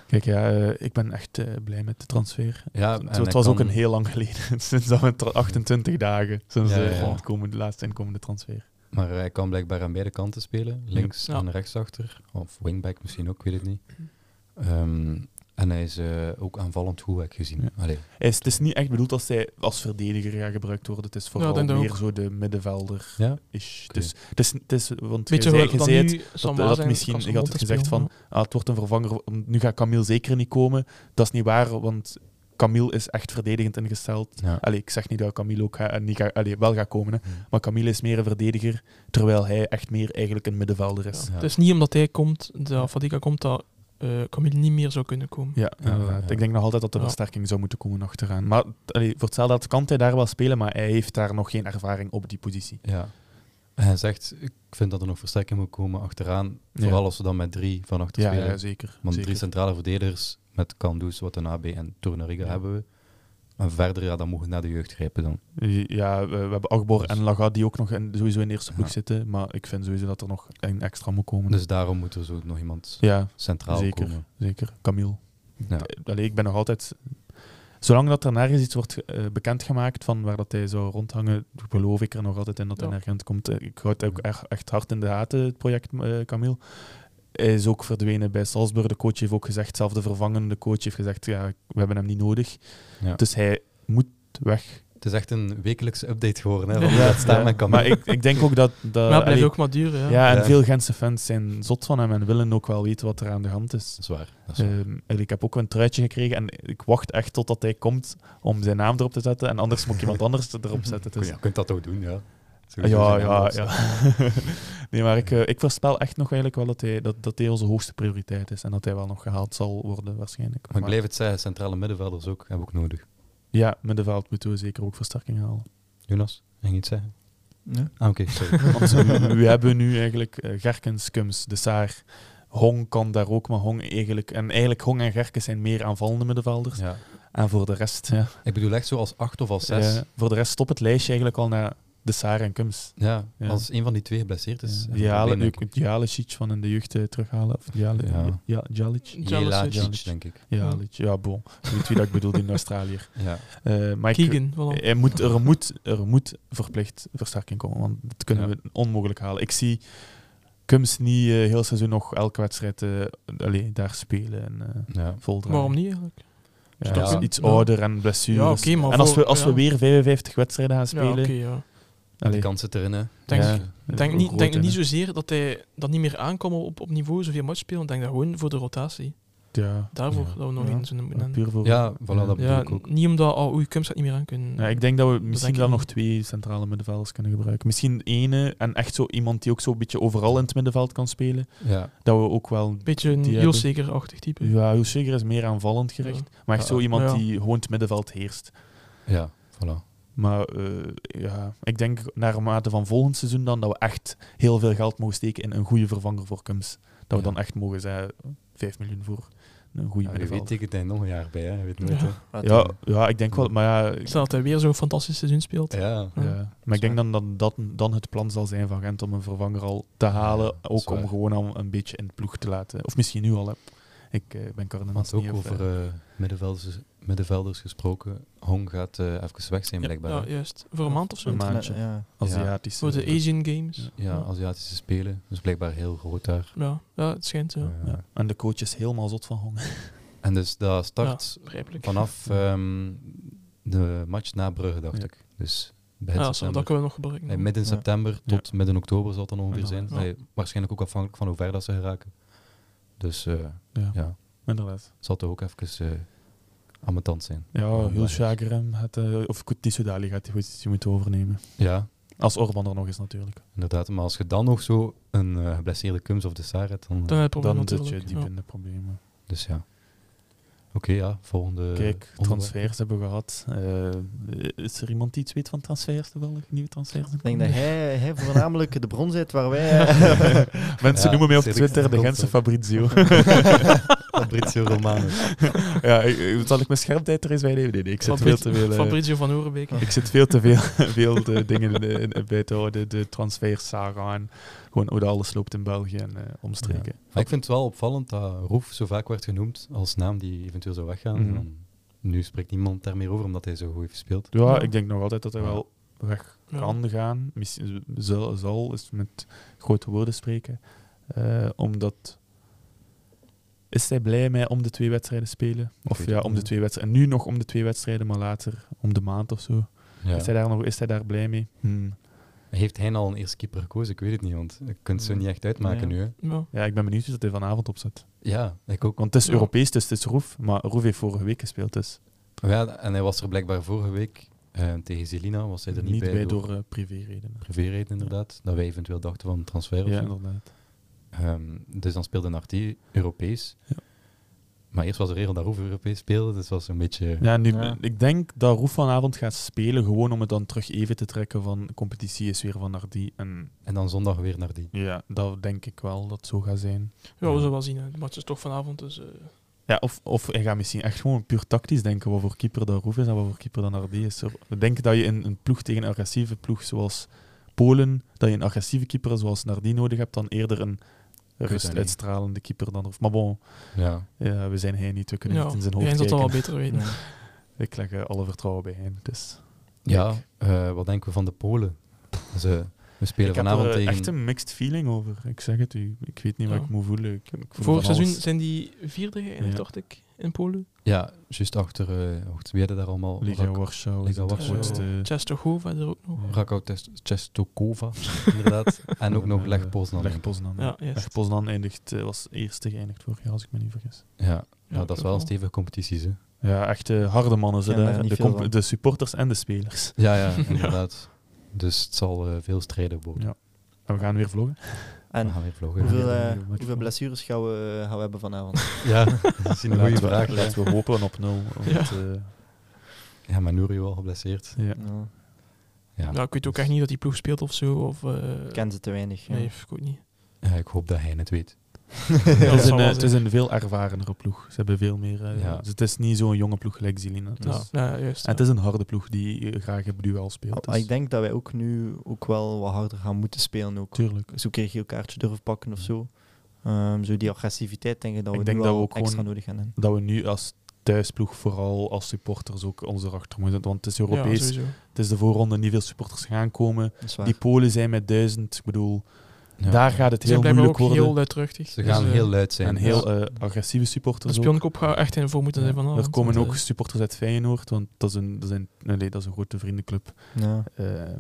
S3: Kijk, ja, eh, ik ben echt eh, blij met de transfer.
S1: <laughs>
S3: <laughs>
S1: Ja,
S3: Zo,
S1: en
S3: het
S1: hij
S3: was ook
S1: kan-
S3: een heel lang geleden, <laughs> sinds dat we tra- 28 dagen, sinds
S1: Ja,
S3: eh,
S1: ja, ja.
S3: het komende- de laatste inkomende transfer.
S1: Maar hij kan blijkbaar aan beide kanten spelen. Links
S4: Ja.
S1: en rechtsachter. Of wingback misschien ook, ik weet het niet. Ehm, en hij is eh, ook aanvallend goed, heb ik gezien.
S3: Ja.
S1: Allee,
S3: Hij is- het is niet echt bedoeld als zij als verdediger gaat gebruikt worden. Het is vooral
S4: denk dat
S3: meer
S4: ook.
S3: zo de middenvelder.
S1: ja?
S3: is.
S1: Oké.
S3: Dus, het is, het is, want je
S4: Beetje
S3: zei,
S4: hoe
S3: je
S4: dat
S3: zei
S4: dan
S3: het,
S4: nu
S3: dat,
S4: Sambal
S3: dat
S4: zijn
S3: misschien,
S4: Casablanca
S3: je had het gezegd
S4: speelt,
S3: van, ah, het wordt een vervanger. Nu gaat Camille zeker niet komen. Dat is niet waar, want Camille is echt verdedigend ingesteld.
S1: ja.
S3: Allee, ik zeg niet dat Camille ook ga, eh, niet ga, allee, wel gaat komen, hè.
S1: Hm.
S3: maar Camille is meer een verdediger, terwijl hij echt meer eigenlijk een middenvelder
S4: Ja.
S3: is.
S1: Ja.
S4: Het is niet omdat hij komt, dat Fadiga komt, dat eh Camille niet meer zou kunnen komen.
S3: Ja,
S1: Ja,
S3: inderdaad.
S1: ja.
S3: ik denk nog altijd dat er
S4: Ja.
S3: versterking zou moeten komen achteraan. Maar allee, voor hetzelfde geld kan hij daar wel spelen, maar hij heeft daar nog geen ervaring op die positie.
S1: Ja. En hij zegt, ik vind dat er nog versterking moet komen achteraan. Vooral als we dan met drie van achter
S3: Ja,
S1: spelen.
S3: ja, zeker.
S1: Want
S3: zeker.
S1: drie centrale verdedigers met Kandus, Watanabe en Tornariga
S3: Ja.
S1: hebben we. En verder, ja, dan mogen we naar de jeugd grijpen dan.
S3: Ja, we, we hebben Agbor en Laga die ook nog in, sowieso in de eerste ploeg
S1: Ja.
S3: zitten. Maar ik vind sowieso dat er nog een extra moet komen.
S1: Dus daarom moet er zo nog iemand
S3: ja,
S1: centraal
S3: Zeker.
S1: komen.
S3: zeker. Camille.
S1: Ja.
S3: Eh, Allee, ik ben nog altijd... Zolang dat er nergens iets wordt eh, bekendgemaakt van waar dat hij zou rondhangen, geloof ik er nog altijd in dat hij
S4: Ja.
S3: naar Gent komt. Eh, Ik houd het ook echt, echt hard in de gaten, het project eh, Camille. Hij is ook verdwenen bij Salzburg. De coach heeft ook gezegd, zelf de vervangende coach heeft gezegd, ja, we hebben hem niet nodig.
S1: Ja.
S3: Dus hij moet weg.
S1: Het is echt een wekelijkse update geworden,
S3: <laughs>
S1: hè,
S4: Ja.
S1: van hoe dat staat met Camille.
S3: Maar ik, ik denk ook dat... dat
S4: maar het blijft
S3: allee,
S4: ook maar duur. Ja.
S3: Ja, en
S1: Ja.
S3: veel Gentse fans zijn zot van hem en willen ook wel weten wat er aan de hand is.
S1: Dat is waar. Dat is waar.
S3: Ehm, en ik heb ook een truitje gekregen en ik wacht echt totdat hij komt om zijn naam erop te zetten. En anders moet ik iemand anders erop zetten.
S1: Kun
S3: Dus.
S1: je je kunt dat ook doen, ja.
S3: Ja,
S1: Sowieso
S3: ja,
S1: zijn
S3: ja.
S1: aanbod.
S3: <laughs> nee, maar ik, eh, ik voorspel echt nog eigenlijk wel dat hij, dat, dat hij onze hoogste prioriteit is. En dat hij wel nog gehaald zal worden waarschijnlijk.
S1: Maar ik
S3: Maar-
S1: blijf het zeggen, centrale middenvelders ook, hebben we ook nodig.
S3: Ja, middenveld moeten we zeker ook versterking halen.
S1: Jonas, ging je iets zeggen?
S5: Ja.
S1: Ah, oké,
S3: <laughs>
S1: sorry.
S3: Want ehm, we, we hebben nu eigenlijk eh, Gerkens, Kums, De Saar. Hong kan daar ook, maar Hong eigenlijk... En eigenlijk Hong en Gerkens zijn meer aanvallende middenvelders.
S1: ja.
S3: En voor de rest, ja.
S1: Ik bedoel echt zo als acht of als zes.
S3: Ja, voor de rest stop het lijstje eigenlijk al naar De Saar en Kums.
S1: Ja,
S3: Ja.
S1: als een van die twee geblesseerd is.
S3: ja, Jale, je
S1: Jalic,
S3: kunt Jalicic van in de jeugd eh, terughalen. Of Jale,
S1: Ja.
S3: ja. Jalic.
S4: Jalacic.
S1: Jelacic, denk ik.
S3: Jalic. Ja, bon. Ik weet wie dat ik bedoel,
S4: <laughs>
S3: die Australiër.
S1: Ja.
S3: Eh, maar ik-
S4: Keegan, voilà.
S3: hij moet, er, moet, er moet verplicht versterking komen, want dat kunnen
S1: Ja.
S3: we onmogelijk halen. Ik zie Kums niet eh, heel seizoen nog elke wedstrijd eh, allee, daar spelen en eh
S1: ja.
S3: voldragen.
S4: Waarom niet eigenlijk?
S3: Ja,
S1: Ja.
S3: hij is iets
S4: Ja.
S3: ouder en blessures.
S4: Ja, oké, maar
S3: en als,
S4: voor-
S3: we, als we
S4: ja.
S3: weer 55 wedstrijden gaan
S4: Ja,
S3: spelen...
S4: oké, ja.
S1: Die
S3: allee,
S1: kans zit erin, hè.
S4: Denk
S1: Dus,
S3: ik.
S1: eh,
S4: Ik
S3: eh,
S4: denk
S3: hoe
S4: niet,
S3: groot
S4: denk
S3: hij
S4: niet
S3: is.
S4: zozeer dat hij dat niet meer aankomt op, op niveau zoveel match spelen. Ik denk dat gewoon voor de rotatie.
S3: Ja,
S4: Daarvoor
S3: Ja.
S4: dat we nog
S3: Ja.
S4: eens in moeten. hebben.
S3: puur voor...
S1: Ja, voilà, dat bedoel
S4: Ja,
S1: ik ook.
S4: niet omdat oh, oei, Kums gaat niet meer aan kunnen.
S3: Ja, ik denk dat we misschien
S4: ik
S3: wel
S4: niet.
S3: nog twee centrale middenvelders kunnen gebruiken. Misschien ene en echt zo iemand die ook zo'n beetje overal in het middenveld kan spelen.
S1: Ja.
S3: Dat we ook wel...
S4: Beetje een
S3: Die
S4: heel
S3: hebben-
S4: zekerachtig type.
S3: Ja, Joseger is meer aanvallend gericht. Maar echt
S1: Ja.
S3: zo iemand
S4: Ja.
S3: die gewoon het middenveld heerst.
S1: Ja, voilà.
S3: Maar eh, ja, ik denk naarmate van volgend seizoen dan dat we echt heel veel geld mogen steken in een goede vervanger voor Kums. Dat we
S1: Ja.
S3: dan echt mogen zeggen, 5 miljoen voor een goede
S1: Ja, je weet,
S3: middenvelder.
S1: tekent hij nog een jaar bij, hè? Je weet nooit,
S4: Ja.
S1: hè.
S3: Ja, ja, ik denk wel. Maar ja, ik-
S4: Stel dat hij weer zo'n fantastisch seizoen speelt.
S1: Ja.
S4: Ja.
S3: ja. maar ik denk dan dat dat dan het plan zal zijn van Gent om een vervanger al te halen.
S1: Ja, dat is
S3: ook om
S1: waar.
S3: gewoon al een beetje in de ploeg te laten. Of misschien nu al. Hè. Ik eh, ben Cardenas
S1: Want
S3: niet.
S1: ook
S3: of,
S1: over
S3: eh,
S1: eh, middenvelders, middenvelders gesproken. Hong gaat eh, even weg zijn,
S4: Ja,
S1: blijkbaar.
S4: ja,
S1: hè.
S4: juist. Voor een maand of zo.
S3: Een maand.
S5: Ja,
S3: maandje.
S5: ja.
S3: Aziatische.
S4: Voor de Asian Games.
S3: Ja.
S1: Ja, Aziatische Spelen. Dus blijkbaar heel groot daar.
S4: Ja, ja het schijnt zo.
S1: Eh,
S3: Ja. En de coach is helemaal zot van honger.
S1: En dus dat start
S4: Begrijpelijk.
S1: vanaf ehm, de match na Brugge, dacht
S3: Ja.
S1: ik. Dus begin
S4: Ja, zo, dat
S1: september.
S4: kunnen we nog gebruiken.
S1: Eh, midden
S3: Ja.
S1: september tot midden oktober zal het dan ongeveer
S3: Ja.
S1: zijn.
S4: Ja.
S1: Eh, waarschijnlijk ook afhankelijk van hoe ver dat ze geraken. Dus eh,
S3: Ja.
S1: ja,
S3: Inderdaad.
S1: zal het ook even eh aan mijn tand zijn.
S3: Ja,
S1: Oh,
S3: heel
S1: maar-
S3: Chagrin gaat, eh, of Kutisu Dali gaat die positie moeten overnemen.
S1: Ja,
S3: Als Orban er nog is natuurlijk.
S1: inderdaad. Maar als je dan nog zo een eh, geblesseerde Kums of de Saar hebt, dan... eh,
S4: Dan heb je het probleem
S3: Dan zit
S4: natuurlijk.
S3: je diep
S4: ja.
S3: in de problemen.
S1: Dus ja. Oké, ja, volgende.
S3: Kijk,
S1: onderwerp. <laughs>
S3: transfers hebben we gehad. Eh, is er iemand die iets weet van transfers toevallig? Nieuwe transfers?
S5: Ik denk dat hij, hij voornamelijk de bron zit waar
S3: <laughs>
S5: <laughs> wij... eh,
S3: Mensen
S1: Ja,
S3: noemen mij op
S1: Cedric
S3: Twitter de
S1: Verkoop,
S3: Gentse
S1: hè.
S3: Fabrizio.
S1: Fabrizio Romano.
S3: <laughs> ja, ik- ik- zal ik mijn scherptijd er eens bij nemen? Nee, nee, ik zit veel
S4: Fabrizio-
S3: te veel... eh,
S4: Fabrizio van Oerenbeek.
S3: ik zit veel te veel, <laughs> veel de dingen in, in- in bij te houden. De transfers, Saga en gewoon hoe dat alles loopt in België en eh, omstreken.
S1: Maar ik vind het wel opvallend dat Roef zo vaak werd genoemd als naam die eventueel zou weggaan.
S3: Mhm.
S1: En dan- nu spreekt niemand daar meer over omdat hij zo goed heeft gespeeld.
S3: Ja,
S4: Ja.
S3: ik denk nog altijd dat hij wel weg
S4: Ja.
S3: kan gaan. Misschien zal, zal is met grote woorden spreken. Eh, omdat. Is hij blij met om de twee wedstrijden spelen? Of
S1: weet
S3: ja,
S1: het
S3: om
S1: niet,
S3: de
S1: hè.
S3: twee wedstrijden. Nu nog om de twee wedstrijden, maar later om de maand of zo. Is, hij daar nog, is hij daar blij mee? Hm.
S1: Hmm. Heeft hij nou al een eerste keeper gekozen? Ik weet het niet, want je kunt het zo niet echt uitmaken
S5: Ja.
S1: nu. Hè.
S4: Ja.
S3: Ja, ik ben benieuwd wie dat hij vanavond opzet.
S1: Ja, ik ook.
S3: Want het is
S4: Ja.
S3: Europees, dus het is Roef. Maar Roef heeft vorige week gespeeld, dus
S1: Ja, en hij was er blijkbaar vorige week eh, tegen Zelina, was hij er niet, bij, door,
S3: door, eh, privéredenen.
S1: privéredenen inderdaad. Dat wij eventueel dachten van transfer of
S3: Ja,
S1: zo.
S3: inderdaad.
S1: Ehm, dus dan speelde Narty Europees.
S3: Ja.
S1: Maar eerst was de regel dat Roef Europees speelde, dus was een beetje...
S3: Ja, nu,
S5: Ja.
S3: ik denk dat Roef vanavond gaat spelen, gewoon om het dan terug even te trekken van de competitie is weer van naar die. En
S1: En dan zondag weer naar die.
S3: ja, dat denk ik wel dat zo gaat zijn.
S4: we zullen wel zien. hè. De match is toch vanavond, dus... eh,
S3: Ja, of, of hij gaat misschien echt gewoon puur tactisch denken wat voor keeper dat Roef is en wat voor keeper dat Nardi is. Ik denk dat je in een ploeg tegen een agressieve ploeg zoals Polen, dat je een agressieve keeper zoals Nardi nodig hebt, dan eerder een
S1: dat
S3: rust
S1: niet.
S3: uitstralende keeper dan Roef. Maar bon,
S1: Ja.
S3: ja, we zijn hij niet, we kunnen
S4: ja,
S3: niet in zijn
S4: jij
S3: hoofd
S4: zal dat
S3: kijken.
S4: wel beter weten.
S3: Ik leg eh, alle vertrouwen bij hem, dus...
S1: Ja, eh, wat denken we van de Polen? Ze, we spelen
S3: Ik heb
S1: vanavond
S3: er eh,
S1: tegen...
S3: echt een mixed feeling over. Ik zeg het u. Ik weet niet wat
S4: Ja.
S3: ik moet voelen. Ik, ik voel
S4: Vorig
S3: van
S4: seizoen
S3: alles.
S4: zijn die vierde geëindigd,
S3: Ja.
S4: dacht ik, in Polen.
S1: Ja, juist achter... eh hoe het werden daar allemaal?
S3: Liga
S1: Rak-
S3: Warschau.
S1: Liga
S3: Liga
S4: Dus,
S1: Warschau.
S3: Warschau.
S4: Częstochowa eh, er ook nog.
S1: Rakał Test- Częstochowa, inderdaad. En ook nog Lech Poznan.
S3: eh, Lech
S1: denk ik.
S3: Poznan.
S4: Ja,
S3: Ja,
S4: juist.
S3: Lech Poznan eindigt, eh, was eerste geëindigd vorig jaar, als ik me niet vergis.
S1: Ja, nou, dat
S4: toch
S1: is wel een stevige competitie, hè?
S3: Ja, echt eh, harde mannen ze
S5: Ken daar
S3: daar.
S5: niet
S3: De,
S5: veel
S3: comp-
S5: van.
S3: de supporters en de spelers.
S1: Ja, <laughs> ja, inderdaad. Dus het zal eh, veel strijden worden.
S3: Ja. En we gaan weer vloggen.
S1: We
S5: <laughs> En
S1: gaan weer vloggen.
S5: hoeveel, eh,
S3: Ja.
S5: hoeveel blessures gaan we, gaan we hebben vanavond?
S1: Ja, eh, <laughs> dat is een goede
S3: Laten we-
S1: vraag. hè.
S3: Laten we hopen op nul. want,
S4: Ja.
S3: eh,
S1: Ja, maar Nourio al geblesseerd.
S3: ja.
S5: Nou,
S1: Ja.
S4: Ja, ik weet ook echt niet dat die ploeg speelt of zo. Of, eh,
S5: ik ken ze te weinig. ja.
S4: Nee, ik ook niet.
S1: Ja, ik hoop dat hij het weet.
S3: Het is
S4: zal
S3: een,
S4: wel
S3: eh, het is een veel ervarenere ploeg. Ze hebben veel meer... eh,
S1: Ja.
S3: dus het is niet zo'n jonge ploeg gelijk Zilina. Het
S4: Ja,
S3: is-
S4: ja, juist.
S3: En het is een harde ploeg die eh, graag op duel speelt.
S5: Maar
S3: dus-
S5: ik denk dat wij ook nu ook wel wat harder gaan moeten spelen. Ook.
S3: Tuurlijk.
S5: Zo'n keer geel kaartje durven pakken of zo. Ehm, zo die agressiviteit denk ik dat
S3: Ik
S5: we
S3: denk
S5: nu
S3: dat
S5: wel
S3: we ook
S5: extra
S3: gewoon-
S5: nodig hebben.
S3: dat we nu als thuisploeg vooral als supporters ook ons erachter moeten. Want het is
S4: Ja,
S3: Europees,
S4: sowieso.
S3: het is de voorronde, niet veel supporters gaan komen.
S5: Dat is waar.
S3: Die Polen zijn met duizend, ik bedoel,
S1: Ja.
S3: daar gaat het
S4: Ze zijn blijkbaar
S3: heel moeilijk
S4: ook
S3: worden.
S4: heel luidruchtig.
S1: Ze gaan
S4: dus, eh,
S1: heel luid zijn.
S3: en heel eh, agressieve supporters
S4: De
S3: ook.
S4: spionkop gaat echt in voor moeten zijn vanavond.
S3: er komen
S4: want,
S3: ook
S4: eh,
S3: supporters uit Feyenoord, want dat is een, dat is een, nee, dat is een grote vriendenclub.
S5: Ja.
S3: Ehm,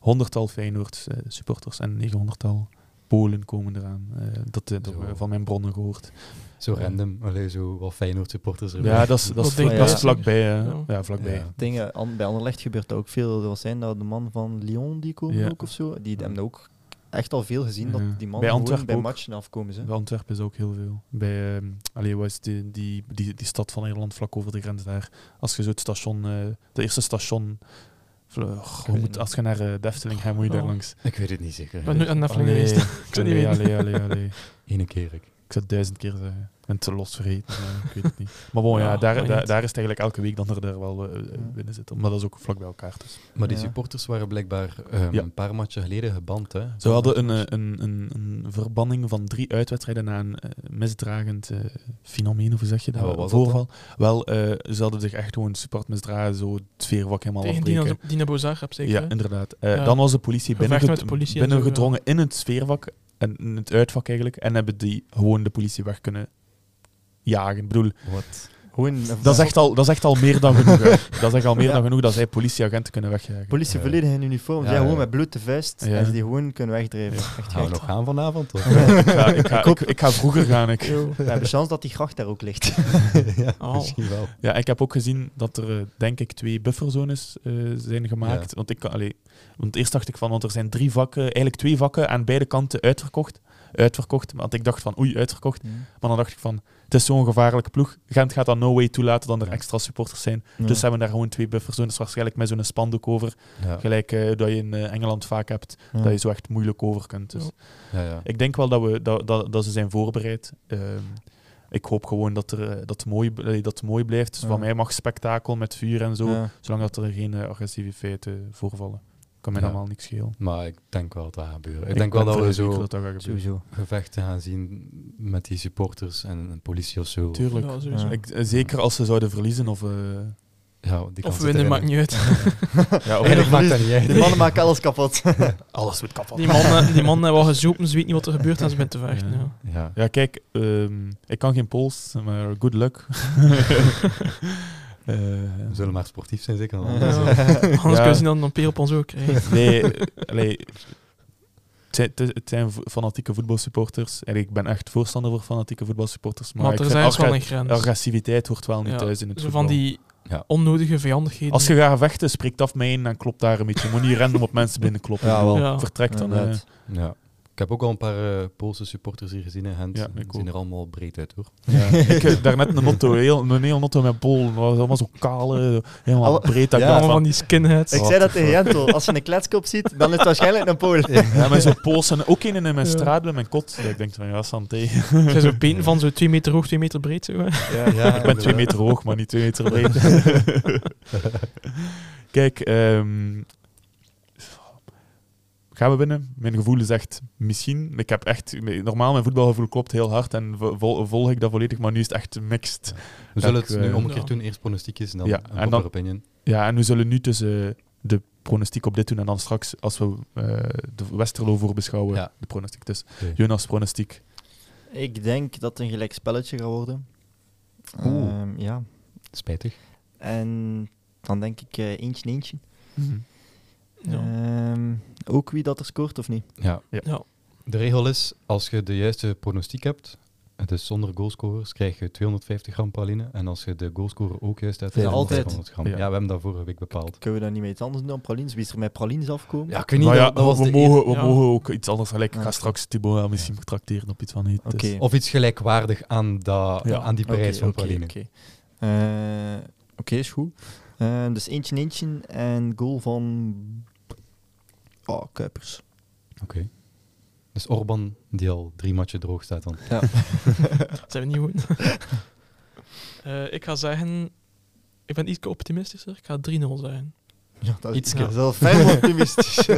S3: honderdtal Feyenoord eh, supporters en negenhonderdtal Polen komen eraan. Eh, dat eh, dat
S1: Zo.
S3: hebben we van mijn bronnen gehoord.
S1: Zo
S3: Ja.
S1: random, allee, zo wat Feyenoord supporters erbij.
S3: Ja, dat is, dat is,
S4: Dat denk
S5: ik
S3: dat is
S5: wel.
S3: vlakbij. hè.
S4: Ja.
S3: Ja, vlakbij.
S1: Ja.
S5: Dingen, eh, an- bij Anderlecht gebeurt dat ook veel. Er was zijn dat de man van Lyon die komen
S3: Ja.
S5: ook of zo. Die hebben ook echt al veel gezien
S3: Ja.
S5: dat die
S3: Bij
S5: mannen gewoon
S3: Antwerpen
S5: bij
S3: ook.
S5: matchen afkomen. Ze.
S3: Bij Antwerpen is ook heel veel. Bij, ehm allee, wat is die, die, die, die stad van Nederland vlak over de grens daar. Als je zo het station, eh de eerste station, vl- goh,
S1: weet
S3: moet,
S1: niet.
S3: als je naar eh, Defteling gaat, moet je daar
S4: Oh.
S3: langs.
S1: Ik weet het niet zeker.
S4: ben nu aan Neffeling
S3: Allee, <laughs>
S4: geweest. Ik zou het niet
S3: allee,
S4: weten.
S3: allee, allee, allee.
S1: Ene keer ik.
S3: Ik zou het duizend keer zeggen. Ik ben te los vergeten, eh, ik weet het niet. Maar bon, ja,
S4: Ja,
S3: daar,
S4: maar
S3: daar,
S4: niet.
S3: daar is het eigenlijk elke week dat er daar wel eh, eh,
S5: Ja.
S3: binnen zit. Maar dat is ook vlak bij elkaar. Dus.
S1: Maar die
S5: Ja.
S1: supporters waren blijkbaar ehm,
S3: Ja.
S1: een paar matchen geleden geband, hè?
S3: Ze hadden een, eh, een, een, een verbanning van drie uitwedstrijden na een eh, misdragend eh, fenomeen, of hoe zeg je dat?
S1: En wat was dat
S3: Voorval. Wel, eh, ze hadden zich echt gewoon super hard misdragen, zo het sfeervak helemaal
S4: Tegen
S3: afbreken.
S4: Dina, Dina Bozar heb zeker.
S3: Ja,
S4: hè?
S3: inderdaad. Eh,
S4: Ja.
S3: Dan was de politie,
S4: Gevecht
S3: binnenge-
S4: met de politie en
S3: binnengedrongen in het sfeervak, en in het uitvak eigenlijk, en hebben die gewoon de politie weg kunnen jagen. Ik bedoel,
S1: Wat?
S5: Gewoon,
S3: dat is echt al, dat is echt al meer
S1: <laughs>
S3: dan genoeg. hè. Dat is echt al meer dan genoeg dat zij politieagenten kunnen wegjagen.
S5: Politie
S1: Ja.
S5: volledig in uniform.
S3: Ja,
S5: Zij gewoon
S3: ja.
S5: met bloed de vuist.
S3: Ja.
S5: En ze die gewoon kunnen wegdrijven. Echt
S1: Gaan we
S5: gek.
S1: nog gaan vanavond? Of?
S3: Ja, ik, ga, ik, ga, ik, ik ga vroeger gaan. Ik.
S5: We hebben kans dat die gracht daar ook <laughs> ligt.
S1: ja, <laughs>
S4: Oh.
S1: misschien wel.
S3: Ja, ik heb ook gezien dat er, eh, denk ik, twee bufferzones eh, zijn gemaakt. Want, ik, kan- allee, want eerst dacht ik van, want er zijn drie vakken, eigenlijk twee vakken aan beide kanten uitverkocht. Uitverkocht, want ik dacht van, oei, uitverkocht. Maar dan dacht ik van, het is zo'n gevaarlijke ploeg. Gent gaat dat no way toelaten dat er
S1: Ja.
S3: extra supporters zijn.
S5: Ja.
S3: Dus ze hebben daar gewoon twee bufferzones, waarschijnlijk met zo'n spandoek over.
S1: Ja,
S3: Gelijk eh, dat je in eh, Engeland vaak hebt,
S5: Ja.
S3: dat je zo echt moeilijk over kunt. Dus
S4: Ja.
S1: ja, ja.
S3: ik denk wel dat, we, dat, dat, dat ze zijn voorbereid. Ehm, ik hoop gewoon dat, er, eh, dat, het mooi, allee, dat het mooi blijft.
S5: Ja.
S3: Van mij mag spektakel met vuur en zo.
S5: Ja.
S3: Zolang dat er geen eh, agressieve feiten voorvallen. Kan mij
S1: Ja.
S3: allemaal niks schelen.
S1: Maar ik denk wel dat dat gaat gebeuren. Ik, denk wel
S3: ben
S1: dat we
S3: vrij zeker
S1: zo
S3: dat dat gaat gebeuren.
S5: Sowieso.
S1: gevechten gaan zien met die supporters en een politie of zo.
S3: Tuurlijk.
S4: Ja, sowieso.
S5: Ja.
S3: Ik, eh, zeker als ze zouden verliezen of... eh,
S1: Ja, die
S4: Of
S1: kans
S4: winnen,
S1: zit
S4: maakt
S1: erin.
S4: niet uit.
S3: ja, of-
S1: En ik <laughs> maak dat niet uit.
S5: De mannen maken alles kapot.
S3: alles wordt kapot.
S4: Die mannen, die mannen wel gezopen, ze weten niet wat er gebeurt en ze zijn te vechten.
S3: Ja.
S4: Ja.
S1: Ja.
S3: <laughs> Ja, kijk, ehm, ik kan geen Pools, maar good luck. <laughs> Eh,
S1: We zullen maar sportief zijn, zeker.
S5: Ja.
S1: Anders, eh,
S4: Ja. Anders
S3: Ja.
S4: kunnen ze dan een peer op ons ook krijgen.
S3: Nee, <laughs> eh, allee, het zijn, het- het zijn vo- fanatieke voetbalsupporters. En ik ben echt voorstander voor fanatieke voetbalsupporters. Maar,
S4: Maar
S3: ik
S4: er
S3: vind
S4: zijn wel
S3: aggra-
S4: een grens.
S3: agressiviteit hoort wel niet
S4: Ja,
S3: thuis in het
S4: Zo
S3: voetbal.
S4: van die
S1: Ja.
S4: onnodige vijandigheden.
S3: Als je gaat vechten, spreekt af mee en dan klopt daar een beetje. Je moet niet random op mensen binnenkloppen.
S5: <laughs> Ja, wel.
S4: Ja.
S3: Vertrek dan. eh.
S5: Inderdaad.
S1: ja. Ik heb ook al een paar eh, Poolse supporters hier gezien in Gent.
S3: Ja,
S1: Ze
S3: ik ook.
S1: zien er allemaal breed uit, hoor.
S3: ja. <laughs> ik, eh, daarnet een motto, heel, een heel motto met Polen. Dat was allemaal zo kale, helemaal
S5: Alle-
S3: breed. Dat ik
S5: Ja,
S4: Allemaal
S3: dacht van,
S4: van die skinheads.
S5: Ik zei dat tegen Jento. Als je een kletskop ziet, dan is het waarschijnlijk een Pool.
S3: Ja, maar zo'n Poolse, ook een in mijn
S4: Ja.
S3: straat bij mijn kot. Dat ik denk van, ja, santé.
S4: Ze zijn zo benen van zo 2 meter hoog, 2 meter breed. Zo. hè.
S1: <laughs> Ja, ja,
S3: ik ben twee meter hoog, maar niet twee meter
S1: <laughs>
S3: breed. <laughs> Kijk, ehm, gaan we winnen? Mijn gevoel is echt misschien. Ik heb echt, normaal mijn voetbalgevoel klopt heel hard en vo- vol- volg ik dat volledig, maar nu is het echt mixed.
S1: We zullen
S3: Ik,
S1: het nu
S3: eh,
S1: om een keer
S4: Ja.
S1: doen. Eerst pronostiekjes en dan
S3: Ja,
S1: een
S3: en
S1: popular
S3: dan-
S1: opinion.
S3: Ja, en we zullen nu tussen de pronostiek op dit doen en dan straks, als we eh, de Westerlo voor beschouwen,
S1: Ja.
S3: de pronostiek. Dus
S1: Oké.
S3: Jonas, pronostiek.
S5: <laughs> Ik denk dat het een gelijk spelletje gaat worden.
S1: Oeh.
S5: Ehm, ja.
S1: Spijtig.
S5: En dan denk ik eh, eentje in eentje.
S4: Ja.
S5: Ehm, ook wie dat er scoort of niet.
S1: Ja.
S4: Ja.
S1: De regel is, als je de juiste pronostiek hebt, het is zonder goalscorers, krijg je 250 gram praline. En als je de goalscorer ook juist hebt,
S5: Ja,
S1: dan
S5: altijd.
S1: 500 gram.
S3: Ja.
S1: Ja. we hebben dat vorige week bepaald.
S5: Kunnen we dan niet met iets anders doen dan pralines? Wie is er met pralines afkomen?
S1: Ja, ik weet niet,
S3: Maar ja,
S1: dat, dat was
S3: we,
S1: de
S3: mogen, we
S4: eer- ja.
S3: mogen ook iets anders gelijk. Ik
S5: Ah,
S3: ga
S5: oké.
S3: straks Thibaut wel misschien trakteren op iets van dus niet.
S5: Oké.
S1: eer- Of iets gelijkwaardig aan, dat,
S3: Ja.
S1: aan die
S5: Oké,
S1: prijs van
S5: oké,
S1: praline.
S5: Oké, Eh, oké, is goed. Ehm, dus eentje in eentje en goal van... Oh, Kuipers.
S1: Dus Orban, die al drie matchen droog staat dan.
S4: Dat zijn we niet goed. <laughs> Eh, ik ga zeggen... Ik ben iets optimistischer. Ik ga 3-0 zeggen.
S5: Ja, dat
S1: Ietske.
S5: dat is wel fijn optimistisch.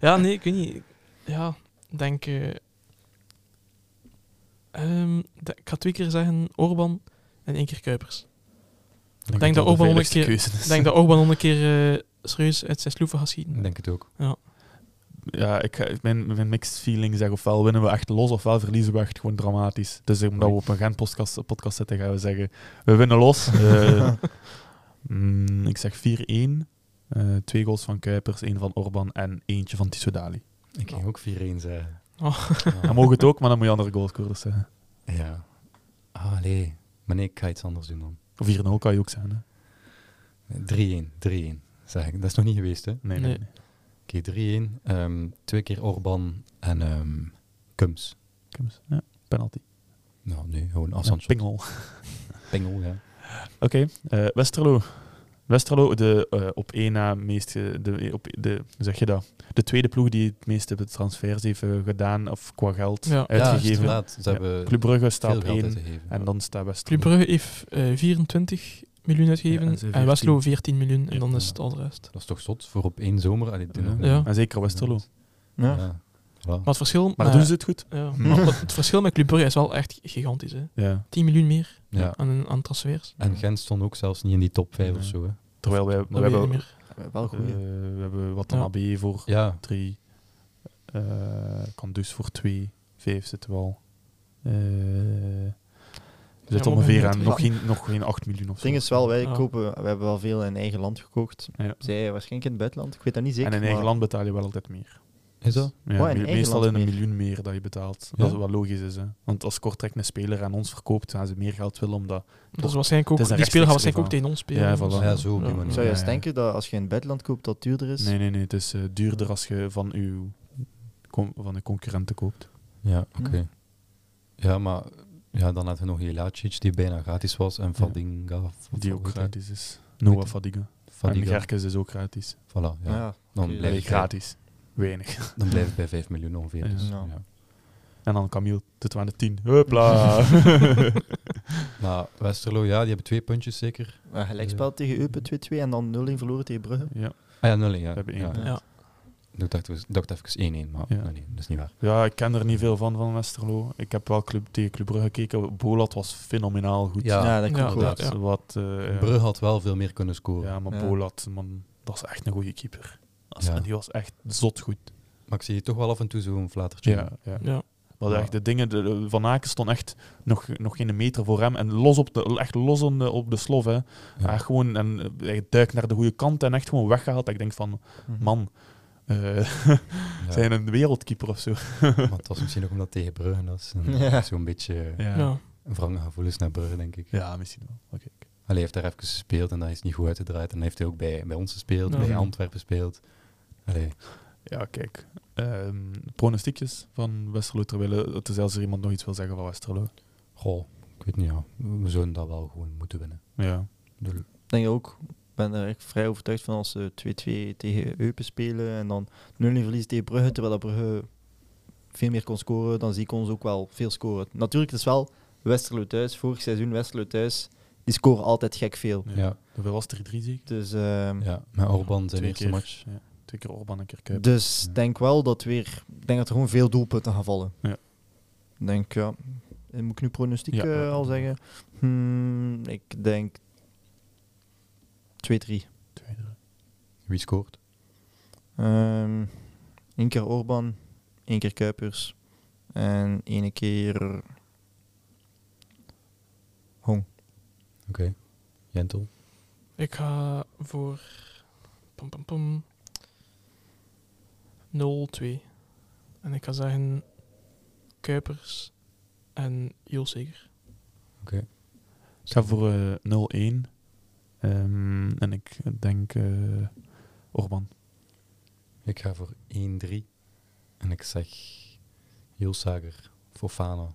S4: Ja, nee, ik weet niet. Ja, ik denk... eh, ehm, de- ik ga twee keer zeggen Orban en één keer Kuipers.
S3: Ik
S4: denk dat
S3: de
S4: Orban nog een
S3: veiligste
S4: keer-
S3: keuze is.
S4: Ik denk dat Orban nog een keer eh, serieus uit zijn sloeven gaat
S1: Ik
S4: schieten.
S1: denk het ook.
S3: Ja, ik, ga- mijn, mijn mixed feeling zeg ofwel winnen we echt los ofwel verliezen we echt gewoon dramatisch. Dus omdat we op een Gent podcast, podcast zitten gaan we zeggen we winnen los. Eh, mm, ik zeg 4-1. Eh, twee goals van Kuipers, één van Orban en eentje van Tissodali.
S1: Ik ging ook 4-1 zeggen.
S3: Dan mogen het ook, maar dan moet je andere goalscorers zijn.
S1: Oh. <laughs> Ja. Ah, nee. Maar nee, ik ga iets anders doen dan.
S3: Of 4-0 kan je ook zijn. Hè?
S1: 3-1, 3-1, zeg ik. Dat is nog niet geweest, hè?
S3: Nee, nee.
S4: Nee.
S3: nee.
S1: Oké, 3-1. Ehm, twee keer Orban en ehm Kums.
S3: Kom eens. Ja, penalty.
S1: Nou, nee, gewoon
S3: Ja, oh,
S1: afstandshot.
S3: pingel.
S1: Pingel, ja.
S3: Oké, eh, Westerlo. Westerlo, de eh, op één na meest, eh, de, op, de, hoe zeg je dat? De tweede ploeg die het meeste transfers heeft eh, gedaan, of qua geld
S4: Ja.
S1: Ja,
S3: uitgegeven.
S1: inderdaad. Ze
S3: Ja,
S1: hebben
S3: Club Brugge staat
S1: veel
S3: op
S1: geld
S3: één
S1: uitgegeven.
S3: en dan staat Westerlo.
S4: Club Brugge heeft eh, 24 miljoen uitgegeven
S3: Ja, en ze
S4: en,
S3: 14.
S4: Westlo 14 miljoen en
S3: Ja,
S4: dan is
S1: ja.
S4: het al de rest.
S1: Dat is toch zot voor op één zomer? Allee, die
S3: Ja.
S1: nog-
S4: Ja.
S3: En zeker Westerlo. Ah,
S1: Ja.
S5: Ja.
S1: Voilà.
S4: Maar het verschil,
S3: Maar
S4: met-
S3: doen ze het goed?
S4: ja, maar het het verschil met Club Brugge is wel echt gigantisch. Hè.
S3: Ja.
S4: 10 miljoen meer
S1: Ja.
S4: aan, aan transfers.
S1: En Gent stond ook zelfs niet in die top 5 of
S3: Nee.
S1: zo. Hè.
S3: Terwijl wij, we
S4: Dat weet ik niet
S3: hebben,
S4: meer.
S5: Wel goed.
S3: eh, we hebben wat
S4: Ja.
S3: dan AB voor
S1: Ja,
S3: drie. eh kan dus voor twee. Vijf zitten we al. Eh, we zitten
S4: maar
S3: ongeveer
S4: bij
S3: aan
S4: twee.
S3: nog geen, nog geen 8 miljoen of
S5: Het
S3: zo.
S5: ding is wel, wij
S4: Ja.
S5: kopen, we hebben wel veel in eigen land gekocht.
S3: Ja.
S5: Zij waarschijnlijk in het buitenland, ik weet dat niet zeker.
S3: en in eigen
S5: maar-
S3: land betaal je wel altijd meer.
S1: is dat?
S3: Ja,
S5: Oh, in
S3: me-
S5: eigen
S3: meestal
S5: land
S3: in een
S5: meer.
S3: miljoen meer dat je betaalt.
S1: Ja?
S3: Dat is wat logisch is. Hè. Want als Kortrijk een speler aan ons verkoopt, gaan ze meer geld willen omdat...
S4: Dat is waarschijnlijk
S3: Het
S4: ook,
S3: is een
S4: die speler gaat
S3: rechtstreeks
S4: waarschijnlijk ook tegen ons spelen.
S3: Ja,
S4: dus-
S3: voilà.
S1: Ja, zo op die
S4: Ja.
S1: manier.
S5: Zou je
S3: Ja,
S5: eens
S3: ja.
S5: denken dat als je in het buitenland koopt, dat het duurder is?
S3: Nee, nee, nee. Het is eh, duurder als je van uw, con- van uw concurrenten koopt.
S1: Ja,
S3: Hm.
S1: oké.
S5: Ja.
S1: Ja, maar ja, dan had je nog Jelacic, die bijna gratis was, en Fadinga. of- of
S3: Die ook
S1: hoe heet hij?
S3: gratis is. Noah
S1: Weet-
S3: Fadiga. En
S1: Fadiga.
S3: Gerkes is ook gratis.
S1: Voilà, ja.
S5: Ja.
S1: Dan
S5: oké,
S1: blijf
S3: Nee,
S1: ik bij-
S3: gratis. Weinig.
S1: Dan blijf ik bij 5 miljoen ongeveer. Dus, ja.
S5: Ja.
S3: En dan Camille, tot aan de 10. Hupla.
S1: Maar Westerlo, ja, die hebben twee puntjes zeker.
S5: Maar gelijkspel tegen Eupen 2-2 en dan 0-1 verloren tegen Brugge.
S3: ja.
S1: Ah ja, 0 ja.
S3: hebben één
S1: ja.
S3: punt.
S4: Ja.
S1: Ik dacht, ik dacht even 1-1, maar
S3: Ja.
S1: nee, nee, dat is niet waar.
S3: ja, ik ken er niet veel van, van Westerlo. Ik heb wel club, tegen Club Brugge gekeken. Bolat was fenomenaal goed.
S1: Ja,
S5: dat
S4: Ja,
S5: klopt.
S1: inderdaad.
S3: Dat is Wat, eh,
S1: Brugge had wel veel meer kunnen scoren.
S3: Ja, maar
S5: Ja.
S3: Bolat, man, dat is echt een goede keeper. Dat is-
S1: Ja.
S3: en Die was echt zot goed.
S1: Maar ik zie je toch wel af en toe zo'n flatertje. doen.
S3: ja.
S4: Ja.
S3: Maar
S1: Ja.
S3: echt de dingen, de- de- Van Aken stond echt nog, nog geen meter voor hem. En los op de, echt los op de, op de slof. Hè. Hij gewoon, en eh, hij duikt naar de goede kant en echt gewoon weggehaald. Ik denk van,
S5: Mhm.
S3: man, eh,
S1: Ja.
S3: <laughs> zijn een wereldkeeper of zo.
S1: Maar het was misschien ook omdat het tegen Brugge was. En
S5: Ja.
S1: Zo'n beetje
S3: Ja, ja.
S4: Ja.
S1: een wrange gevoelens naar Brugge, denk ik.
S3: misschien wel. Oké.
S1: Allee, hij heeft daar even gespeeld en dat is niet goed uitgedraaid. En hij heeft hij ook bij, bij ons gespeeld,
S4: Ja.
S1: bij Antwerpen gespeeld. Allee,
S3: Ja, kijk. Ehm, pronostiekjes van Westerlo, terwijl het is als er iemand nog iets wil zeggen van Westerlo.
S1: goh, ik weet niet, ja. we zouden dat wel gewoon moeten winnen.
S3: Ja.
S1: De-
S5: Ik denk ook, ik ben er echt vrij overtuigd van als ze 2-2 tegen Eupen spelen en dan 0-1 verliezen tegen Brugge, terwijl dat Brugge veel meer kon scoren, dan zie ik ons ook wel veel scoren. Natuurlijk, het is wel Westerlo thuis, vorig seizoen Westerlo thuis, die scoren altijd gek veel.
S3: ja.
S1: Ja.
S3: Hoeveel was het? 3-3 zeker?
S5: Dus, ehm,
S1: Ja, met Orban zijn
S3: Twee
S1: eerste
S3: keer.
S1: match.
S3: Ja. Twee keer Orban, een keer Kuip.
S5: dus
S1: Ja.
S5: denk wel dat weer, ik denk dat er gewoon veel doelpunten gaan vallen.
S3: Ja.
S5: Ik denk, ja, eh, moet ik nu pronostiek
S3: Ja,
S5: eh,
S3: ja.
S5: al zeggen? Hmm, ik denk 2-3.
S3: Twee, drie.
S1: Wie scoort?
S5: Eén Ehm, keer Orban, één keer Kuipers en één keer Hong.
S1: Oké. Jentel?
S4: Ik ga voor. Pom, pom, pom. 0-2. En ik ga zeggen. Kuipers en Jolseger.
S3: Ik ga voor eh, 0-1. Ehm, en ik denk eh, Orban.
S1: Ik ga voor 1-3. En ik zeg Jolsager, Fofana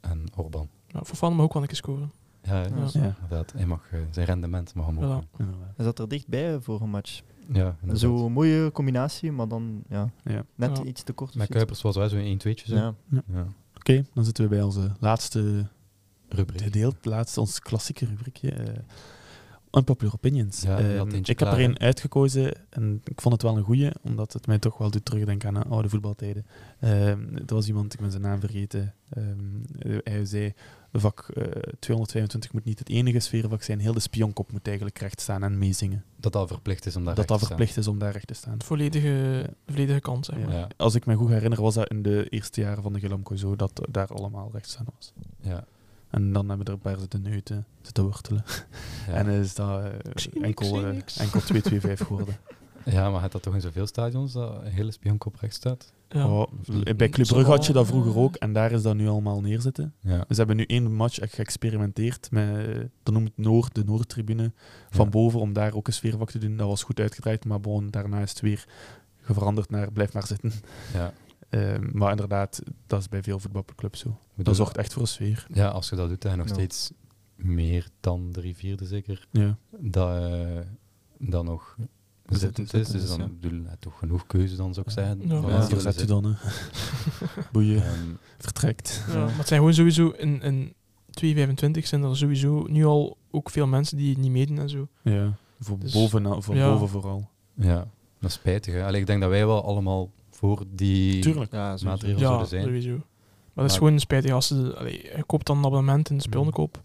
S1: en Orban.
S4: Nou, voor Van mag ook wel een keer scoren.
S1: Ja,
S5: Ja.
S1: dus
S3: Ja.
S1: inderdaad. Hij mag eh, zijn rendement mag hem
S4: Voilà.
S1: ook.
S3: Inderdaad.
S5: Hij zat er dichtbij voor een match.
S1: Ja, inderdaad.
S5: Zo'n mooie combinatie, maar dan ja,
S3: Ja.
S5: net
S4: Ja.
S5: iets te kort. of
S1: Met
S5: zoiets.
S1: Kuipers dus was wel zo'n 1-2'tje. Zo.
S5: Ja.
S1: Ja.
S3: Oké, dan zitten we bij onze laatste
S1: Rubriek.
S3: deel, het laatste, ons klassieke rubriekje. eh unpopular opinions.
S1: Ja, je
S3: Ehm,
S1: had eentje
S3: ik heb
S1: klaar,
S3: er een
S1: hè?
S3: uitgekozen en ik vond het wel een goeie, omdat het mij toch wel doet terugdenken aan eh, oude voetbaltijden. Ehm er was iemand, ik ben zijn naam vergeten, ehm, eh, hij zei vak eh, 225 moet niet het enige sfeervak zijn, heel de spionkop moet eigenlijk recht staan en meezingen.
S1: Dat dat verplicht is om daar
S3: dat
S1: recht
S3: dat
S1: te staan.
S3: verplicht is om daar recht te staan.
S4: De volledige, de volledige kant, zeg maar.
S1: Ja.
S3: Als ik me goed herinner, was dat in de eerste jaren van de Gelamco zo dat eh, daar allemaal rechts aan was.
S1: Ja.
S3: En dan hebben er een paar zitten neuten, zitten wortelen.
S1: Ja.
S3: En is dat eh,
S4: zie niks, ik
S3: enkel,
S4: zie
S3: eh,
S4: niks. <laughs>
S3: enkel 2-2-5 geworden.
S1: ja, maar had dat toch in zoveel stadions dat een hele spionkop recht staat?
S4: Ja.
S3: Oh, bij Club Brugge had je dat vroeger ook en daar is dat nu allemaal neerzitten.
S1: Ja.
S3: Ze hebben nu één match echt geëxperimenteerd met, eh, dat noemt Noord, de Noordtribune, van
S1: Ja.
S3: boven om daar ook een sfeervak te doen. Dat was goed uitgedraaid, maar bon, daarna is het weer veranderd naar blijf maar zitten. <laughs>
S1: Ja.
S3: Eh, maar inderdaad, dat is bij veel voetbalclubs zo.
S1: Bedoel-
S3: Dat zorgt echt voor een sfeer.
S1: Ja, als je dat doet, dan nog
S5: Ja.
S1: steeds meer dan drie vierde zeker,
S3: Ja.
S1: dat, eh, dan nog zittend is. Dus
S3: is,
S1: dan
S3: ja.
S1: ik bedoel, ja, toch genoeg keuze dan zou ik
S3: Ja.
S1: zeggen.
S4: Ja.
S1: van
S4: Ja,
S1: mensen die
S3: verzet u
S1: willen
S3: dan, hè. Boeien,
S1: zitten. Ehm,
S3: vertrekt.
S4: Ja, maar het zijn gewoon sowieso in, in 225 zijn er sowieso nu al ook veel mensen die niet meedoen en zo.
S3: Ja, voor,
S4: Dus-
S3: bovenaan, voor
S4: ja.
S3: boven vooral.
S1: ja, dat is spijtig. hè. Allee, ik denk dat wij wel allemaal voor die
S3: Tuurlijk.
S2: Ja,
S1: maatregelen
S4: ja,
S1: zouden zijn.
S4: sowieso. Maar dat is
S1: Maar-
S4: gewoon spijtig als ze... Allee, je koopt dan een abonnement in de speelkoop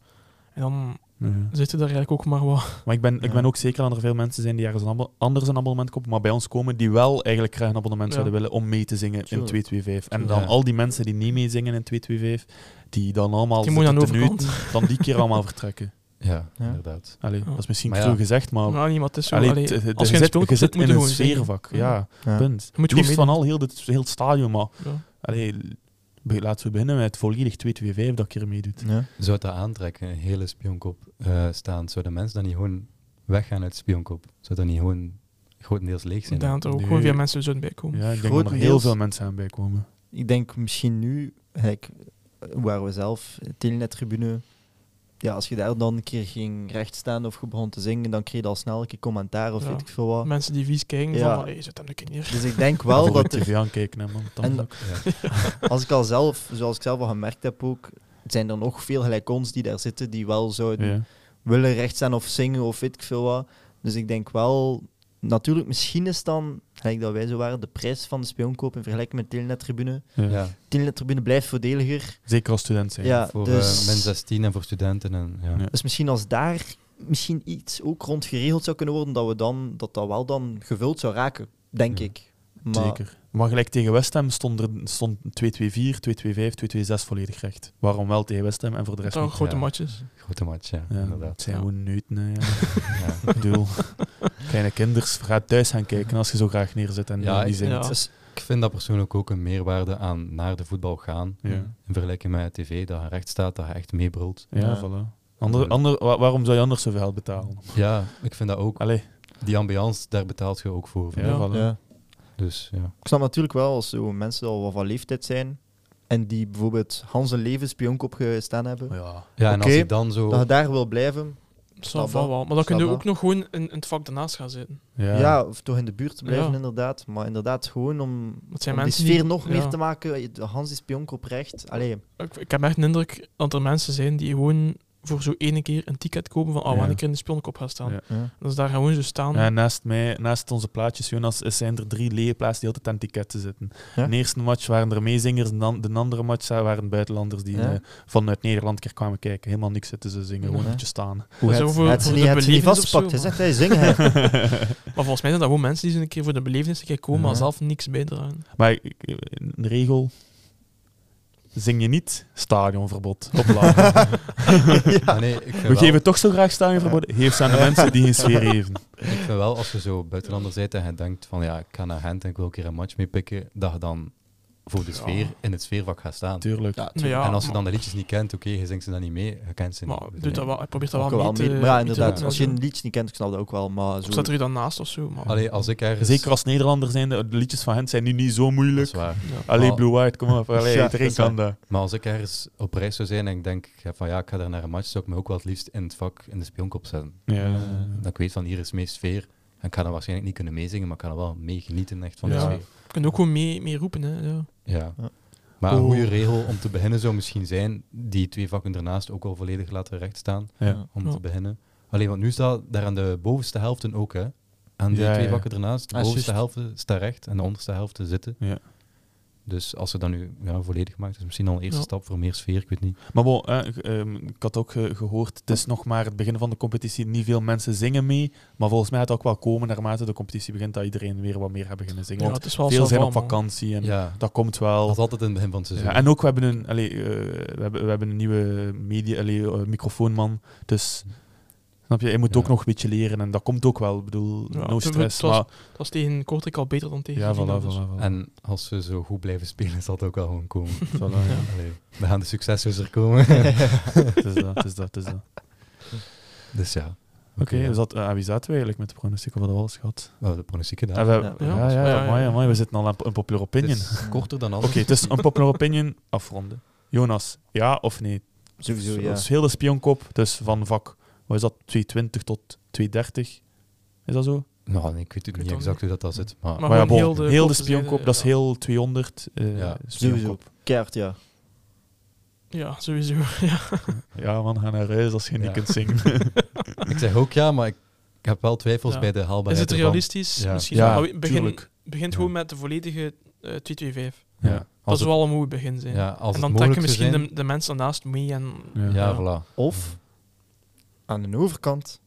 S4: en dan
S3: Ja.
S4: zitten er eigenlijk ook maar wat...
S3: Maar ik ben, ik
S5: Ja.
S3: ben ook zeker dat er veel mensen zijn die ergens een abon- anders een abonnement kopen, maar bij ons komen die wel eigenlijk graag een abonnement
S4: Ja.
S3: zouden willen om mee te zingen
S2: Tuurlijk.
S3: in 225. En
S1: Tuurlijk.
S3: dan
S1: Ja.
S3: al die mensen die niet mee zingen in 225, die dan allemaal
S4: Die moeten
S3: zitten
S4: aan de
S3: te nuiten, dan die keer allemaal
S4: <laughs>
S3: vertrekken.
S1: Ja,
S5: Ja.
S1: inderdaad.
S3: Allee,
S4: Ja.
S3: dat is misschien
S1: Maar
S3: cru
S1: ja.
S3: gezegd, maar...
S4: Nou, niet, <laughs> maar het is zo...
S3: allee,
S4: allee,
S3: t- t-
S4: als je
S3: je
S4: in
S3: zit,
S4: het
S3: je zit
S4: moet je
S3: in een
S4: gewoon zingen.
S3: sfeervak,
S4: Ja.
S3: ja,
S5: Ja.
S3: punt.
S4: Je moet gewoon
S3: Liefst van
S4: meedoen.
S3: al heel, dit, heel het stadion, maar
S4: Ja.
S3: allee, be- laten we beginnen met volledig 225 dat ik er meedoet.
S5: Ja.
S1: Zou dat aantrekken, een hele spionkop eh, staan? Zou de mensen dan niet gewoon weggaan uit spionkop? Zou dat niet gewoon grotendeels leeg zijn?
S4: Ik denk dat er ook
S3: Nee.
S4: gewoon veel mensen zouden bijkomen.
S3: Ja, ik denk dat er heel
S5: Grotendeels.
S3: veel mensen aan bij komen.
S5: Ik denk misschien nu, gelijk, eh, waar we zelf, eh, Telenet-tribune, ja, als je daar dan een keer ging rechtstaan of je begon te zingen, dan kreeg je al snel een keer commentaar of
S4: Ja.
S5: weet ik veel wat.
S4: Mensen die vies kijken,
S5: Ja.
S4: van allee, zet hem een keer neer.
S5: Dus ik
S1: <laughs>
S5: denk wel
S3: Voor
S5: dat
S3: de
S5: er,
S3: tv aankijken, hè, man. Dan
S5: En-
S3: ook.
S1: Ja.
S5: als ik al zelf, zoals ik zelf al gemerkt heb ook, zijn er nog veel gelijk ons die daar zitten die wel zouden
S3: Ja.
S5: willen rechtstaan of zingen of weet ik veel wat. Dus ik denk wel, natuurlijk, misschien is dan, gelijk dat wij zo waren, de prijs van de spionkoop in vergelijking met Telenet-tribune.
S3: Ja.
S1: Ja,
S5: Telenet-tribune blijft voordeliger.
S3: Zeker als student zijn.
S5: Ja,
S1: voor eh,
S5: dus...
S1: men 16 en voor studenten. En, ja.
S3: Ja.
S5: Dus misschien als daar misschien iets ook rond geregeld zou kunnen worden, dat we dan, dat, dat wel dan gevuld zou raken, denk
S1: Ja.
S5: ik. Maar,
S3: Zeker. Maar gelijk tegen West Ham stond er stond 2-2-4, 2-2-5, 2-2-6 volledig recht. Waarom wel tegen West Ham en voor
S4: Dat
S3: de rest
S4: zijn
S3: niet?
S4: grote
S1: ja. Mm.
S4: matjes.
S1: Grote match, ja,
S3: Ja,
S1: inderdaad.
S3: het zijn
S4: Ja.
S3: gewoon neuten. hè, Ja.
S1: Ja.
S3: Ik bedoel, kleine kinders, ga thuis gaan kijken als je zo graag neerzit en
S1: Ja,
S3: ja, die
S1: ik-
S3: zingt.
S4: ja.
S1: Dus ik vind dat persoonlijk ook een meerwaarde aan naar de voetbal gaan. In vergelijking met tv, dat je recht staat, dat je echt meebrult.
S3: Ja,
S5: Ja.
S3: voilà. Ander, ander, wa- waarom zou je anders zoveel geld betalen?
S1: Ja, ik vind dat ook.
S3: Allee,
S1: Die ambiance, daar betaalt je ook voor.
S3: ja,
S1: vind ik.
S3: voilà.
S5: ja.
S1: Dus ja.
S5: Ik snap natuurlijk wel als zo mensen al wat van leeftijd zijn en die bijvoorbeeld Hans hun leven spionkop gestaan hebben,
S3: Ja.
S1: Ja, en
S5: Oké,
S1: als ik dan zo...
S5: dat je daar wil blijven,
S4: Snap
S5: dat.
S4: wel. Maar dan kun je
S5: Snap
S4: ook nog gewoon in, in het vak daarnaast gaan zitten.
S5: ja.
S3: Ja.
S5: of toch in de buurt te blijven
S4: Ja.
S5: inderdaad, maar inderdaad gewoon om,
S4: Dat zijn
S5: om die
S4: mensen
S5: sfeer
S4: die-
S5: nog
S4: ja.
S5: meer te maken. De Hans is spionkop recht. Allee,
S4: Ik, ik heb echt de indruk dat er mensen zijn die gewoon voor zo ene keer een ticket kopen van oh, we gaan
S3: Ja.
S4: een keer in de spionkop gaan staan.
S3: Ja.
S5: ja.
S4: Dat ze daar gewoon zo staan.
S3: Ja, naast, mij, naast onze plaatjes, Jonas, is- zijn er drie leerplaatsen die altijd aan het ticket zitten.
S5: Ja?
S3: De eerste match waren er meezingers, en dan, de andere match eh, waren buitenlanders die
S5: Ja?
S3: eh, vanuit Nederland een keer kwamen kijken. Helemaal niks zitten ze zingen, gewoon
S5: Ja.
S3: een beetje staan.
S5: Hoe
S4: is
S5: het,
S4: ook voor-
S5: het,
S4: voor
S5: niet-
S4: de
S5: het niet
S4: belevenis of
S5: vastpakt.
S4: zo,
S5: Hij zegt, hij zingen.
S4: <laughs>
S5: hè.
S4: Maar volgens mij zijn dat gewoon mensen die zo een keer voor de belevenis een keer komen, maar
S5: Ja.
S4: zelf niks bijdragen.
S3: Maar ik- een regel... Zing je niet stadionverbod.
S5: <laughs>
S3: Hopla.
S1: Ah, nee, ik vind,
S3: <laughs> We
S1: wel,
S3: geven toch zo graag stadionverbod. Geef ze aan de mensen die geen sfeer
S5: <laughs>
S3: geven.
S1: ik vind wel, als je zo buitenlander bent en je denkt van ja, ik ga naar Gent en ik wil een keer een match meepikken, dat je dan voor de sfeer in het sfeervak gaat staan.
S3: Tuurlijk.
S5: Ja,
S4: Nou ja,
S1: en als je
S4: maar-
S1: dan de liedjes niet kent, oké, je zingt ze dan niet mee, je kent ze
S4: maar,
S1: niet.
S4: doet dat wel, hij probeert dat
S5: Ook
S4: wel,
S5: wel
S4: mee
S5: mee-
S4: eh, te
S5: maar ja,
S4: mee te
S5: inderdaad,
S4: doen
S5: als
S4: en
S5: je een
S4: zo.
S5: liedje niet kent, ik snap dat ook wel. Maar
S4: Of
S5: zo,
S4: staat er je dan naast of zo? Maar,
S1: Allee, als ik ergens...
S3: Zeker als Nederlanders zijn, de de liedjes van hen zijn nu niet zo
S1: Dat
S3: moeilijk.
S1: is waar.
S4: ja.
S3: Allee,
S1: Maar-
S3: Blue White, kom op. Allee,
S5: Ja,
S3: iedereen
S5: dat is waar.
S3: kan dat.
S1: Maar als ik ergens op reis zou zijn en ik denk ja, van ja, ik ga daar naar een match, zou ik me ook wel het liefst in het vak in de spionkop zetten.
S3: Ja.
S1: Dat ik weet van hier is meer sfeer. En ik ga dan waarschijnlijk niet kunnen meezingen, maar ik kan er wel mee genieten echt van de
S4: Ja.
S1: sfeer.
S4: Je kunt ook gewoon mee, mee roepen. Hè. Ja.
S1: Ja.
S5: Ja.
S1: Maar een
S3: Oeh.
S1: goede regel om te beginnen zou misschien zijn die twee vakken daarnaast ook al volledig laten rechtstaan
S3: Ja.
S1: om
S4: Ja.
S1: te beginnen. Alleen want nu staat daar aan de bovenste helften ook, hè? Aan die
S3: Ja,
S1: twee
S3: ja.
S1: vakken daarnaast, de
S5: Ah,
S1: bovenste
S5: juist.
S1: helft staat recht en de onderste helft zitten.
S3: Ja.
S1: Dus als ze dat nu ja, volledig maakt, is misschien al een eerste
S4: Ja.
S1: stap voor meer sfeer, ik weet niet.
S3: Maar bon, eh, g- ehm, ik had ook eh, gehoord, het is nog maar het begin van de competitie. Niet veel mensen zingen mee. Maar volgens mij gaat het ook wel komen naarmate de competitie begint dat iedereen weer wat meer gaat beginnen zingen.
S4: Ja,
S3: Want
S4: het is wel
S3: veel
S4: zelf
S3: zijn op
S4: allemaal.
S3: vakantie en
S1: Ja,
S3: dat komt wel.
S1: dat is altijd in het begin van het seizoen.
S3: Ja, en ook, we hebben een, allee, eh, we hebben, we hebben een nieuwe media, allee, eh, microfoonman. Dus Snap je? Je moet
S1: Ja.
S3: ook nog een beetje leren en dat komt ook wel. Ik bedoel,
S4: Ja,
S3: no
S4: het-
S3: stress.
S4: het was-
S3: maar,
S4: Dat was tegen Kortrijk al beter dan tegen
S3: ja,
S4: Dino,
S3: voilà,
S4: dus.
S3: voilà, voilà.
S1: En als ze zo goed blijven spelen, zal het ook wel gewoon komen.
S3: Voilà, ja.
S1: Allee, we gaan de successors er komen.
S3: het is dat, het is dat, het is dat. Oké,
S1: dus ja. Oké, ja.
S3: dus dat, eh, wie zaten we eigenlijk met de pronostiek? We hadden alles gehad.
S1: we hebben de pronostiek gedaan.
S3: En we, Ah, ja, ja,
S5: Ja.
S4: Ja, ja, ja.
S3: amai, amai, we zitten al aan een popular
S1: Het
S3: opinion.
S1: is <laughs> korter dan
S3: Oké,
S1: anders.
S3: het is een popular opinion afronden. Jonas, ja of nee?
S5: Sowieso,
S3: Dus
S5: ja.
S3: Dat is heel de spionkoop, dus van vak, wat is dat, 220 tot 230? Is dat zo?
S1: Nou, nee, ik weet ook
S4: weet
S1: niet
S4: het
S1: exact hoe dat, dat zit. Maar,
S4: Maar
S3: Maar ja,
S4: gewoon
S3: bon,
S4: heel de
S3: heel de
S4: korte zijde,
S3: spionkoop, dat is
S4: ja.
S3: heel 200 eh,
S1: Ja,
S5: Sowieso.
S3: spionkoop.
S5: Keihard, ja.
S4: Ja, sowieso. <laughs> Ja.
S3: Ja man, ga naar huis als
S1: Ja.
S3: je niet kunt zingen.
S1: ik zeg ook ja, maar ik heb wel twijfels
S4: Ja.
S1: bij de haalbaarheid.
S4: Is het
S1: ervan.
S4: realistisch?
S1: Ja.
S4: Misschien
S3: Ja,
S4: wel. Maar we- begin,
S3: tuurlijk.
S4: begint
S1: Ja.
S4: gewoon met de volledige eh 225.
S1: Ja.
S3: Ja.
S4: Dat
S1: Als
S4: zou wel een mooi begin zijn.
S1: het, ja, als het
S4: en dan trekken
S1: mogelijk zou
S4: misschien
S1: zijn,
S4: de, de mensen naast mee en...
S3: Ja.
S1: Ja,
S4: ja.
S1: voilà.
S5: Of aan de overkant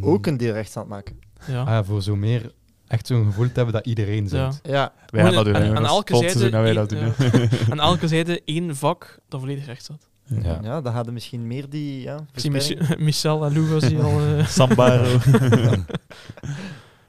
S5: ook een deel rechts aan het maken.
S4: Ja.
S1: Ah, voor zo meer echt zo'n gevoel te hebben dat iedereen
S4: Ja.
S1: zit.
S5: Ja.
S3: Wij gaan
S4: Gewoon
S3: dat doen.
S4: aan-
S3: hè,
S4: aan
S3: jongens.
S4: elke
S3: Volgend
S4: zijde
S3: seizoen gaan wij dat
S4: één- <laughs>
S3: doen.
S4: Aan elke zijde één vak dat volledig recht staat.
S3: hè.
S1: Ja.
S5: Ja. dan hadden misschien meer die... Ja,
S4: Ik zie
S5: verspreiding.
S4: Mich- <laughs> Michel en Lou was hier al... eh,
S3: Sambaro.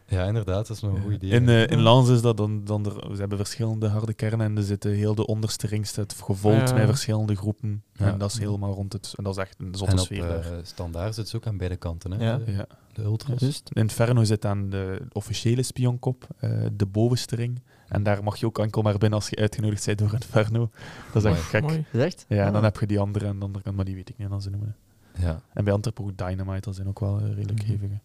S1: Ja, inderdaad, dat is nog een goed idee.
S3: In, eh, in Lans is dat dan, dan er, ze hebben verschillende harde kernen en er zitten heel de onderste ringste het gevolgd
S4: Ja.
S3: met verschillende groepen.
S1: Ja.
S3: En dat is helemaal rond het. En dat is echt een zotte
S1: en op
S3: sfeer daar.
S1: eh, standaard zit ze ook aan beide kanten. Hè?
S5: Ja.
S1: De,
S3: Ja.
S1: de ultras.
S5: Juist.
S3: Inferno zit aan de officiële spionkop, eh, de bovenste ring. En daar mag je ook enkel maar binnen als je uitgenodigd bent door Inferno. Dat is echt gek.
S4: <laughs> mooi.
S5: Gezegd?
S3: Ja, en dan
S5: Ah.
S3: heb je die andere en de andere kant, maar die weet ik niet aan ze noemen.
S1: Ja,
S3: En bij Antwerpen ook Dynamite, dat zijn ook wel eh, redelijk
S1: Mhm.
S3: hevige.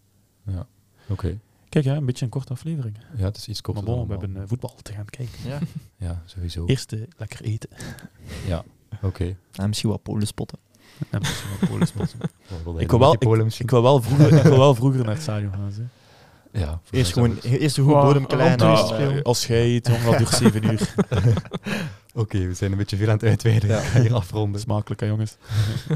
S1: oké.
S3: Kijk, ja, een beetje een korte aflevering.
S1: Ja, het is iets
S3: maar
S1: korter
S3: bon,
S1: dan
S3: we hebben
S1: normaal.
S3: eh, voetbal te gaan kijken.
S5: Ja.
S1: Ja, sowieso.
S3: Eerst eh, lekker eten.
S1: <laughs> Ja, oké.
S5: En misschien wat polen spotten.
S3: En misschien wat polen spotten.
S1: Ik
S3: wil wel- Ik wil wel vroeger, ik wil wel vroeger naar het stadion gaan. Zeg.
S1: Ja, voor
S5: Eerst
S1: mij
S5: gewoon
S1: is dat
S5: eerst een goed
S4: Wow,
S5: bodem klein.
S4: Nou,
S5: en dan,
S4: eh,
S5: eh,
S3: als jij eet, <laughs> jongen, dat duurt 7 uur.
S1: goed. Oké, we zijn een beetje veel aan het uitweiden. Ik <laughs> ga hier afronden.
S3: Smakelijk, hè, jongens.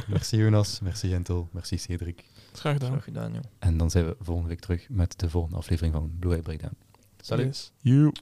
S1: Merci Jonas, merci Jentel, merci Cedric.
S4: Graag gedaan.
S5: Graag gedaan, joh.
S1: En dan zijn we volgende week terug met de volgende aflevering van Blue Eye Breakdown. Salut.
S4: Yes.
S3: You.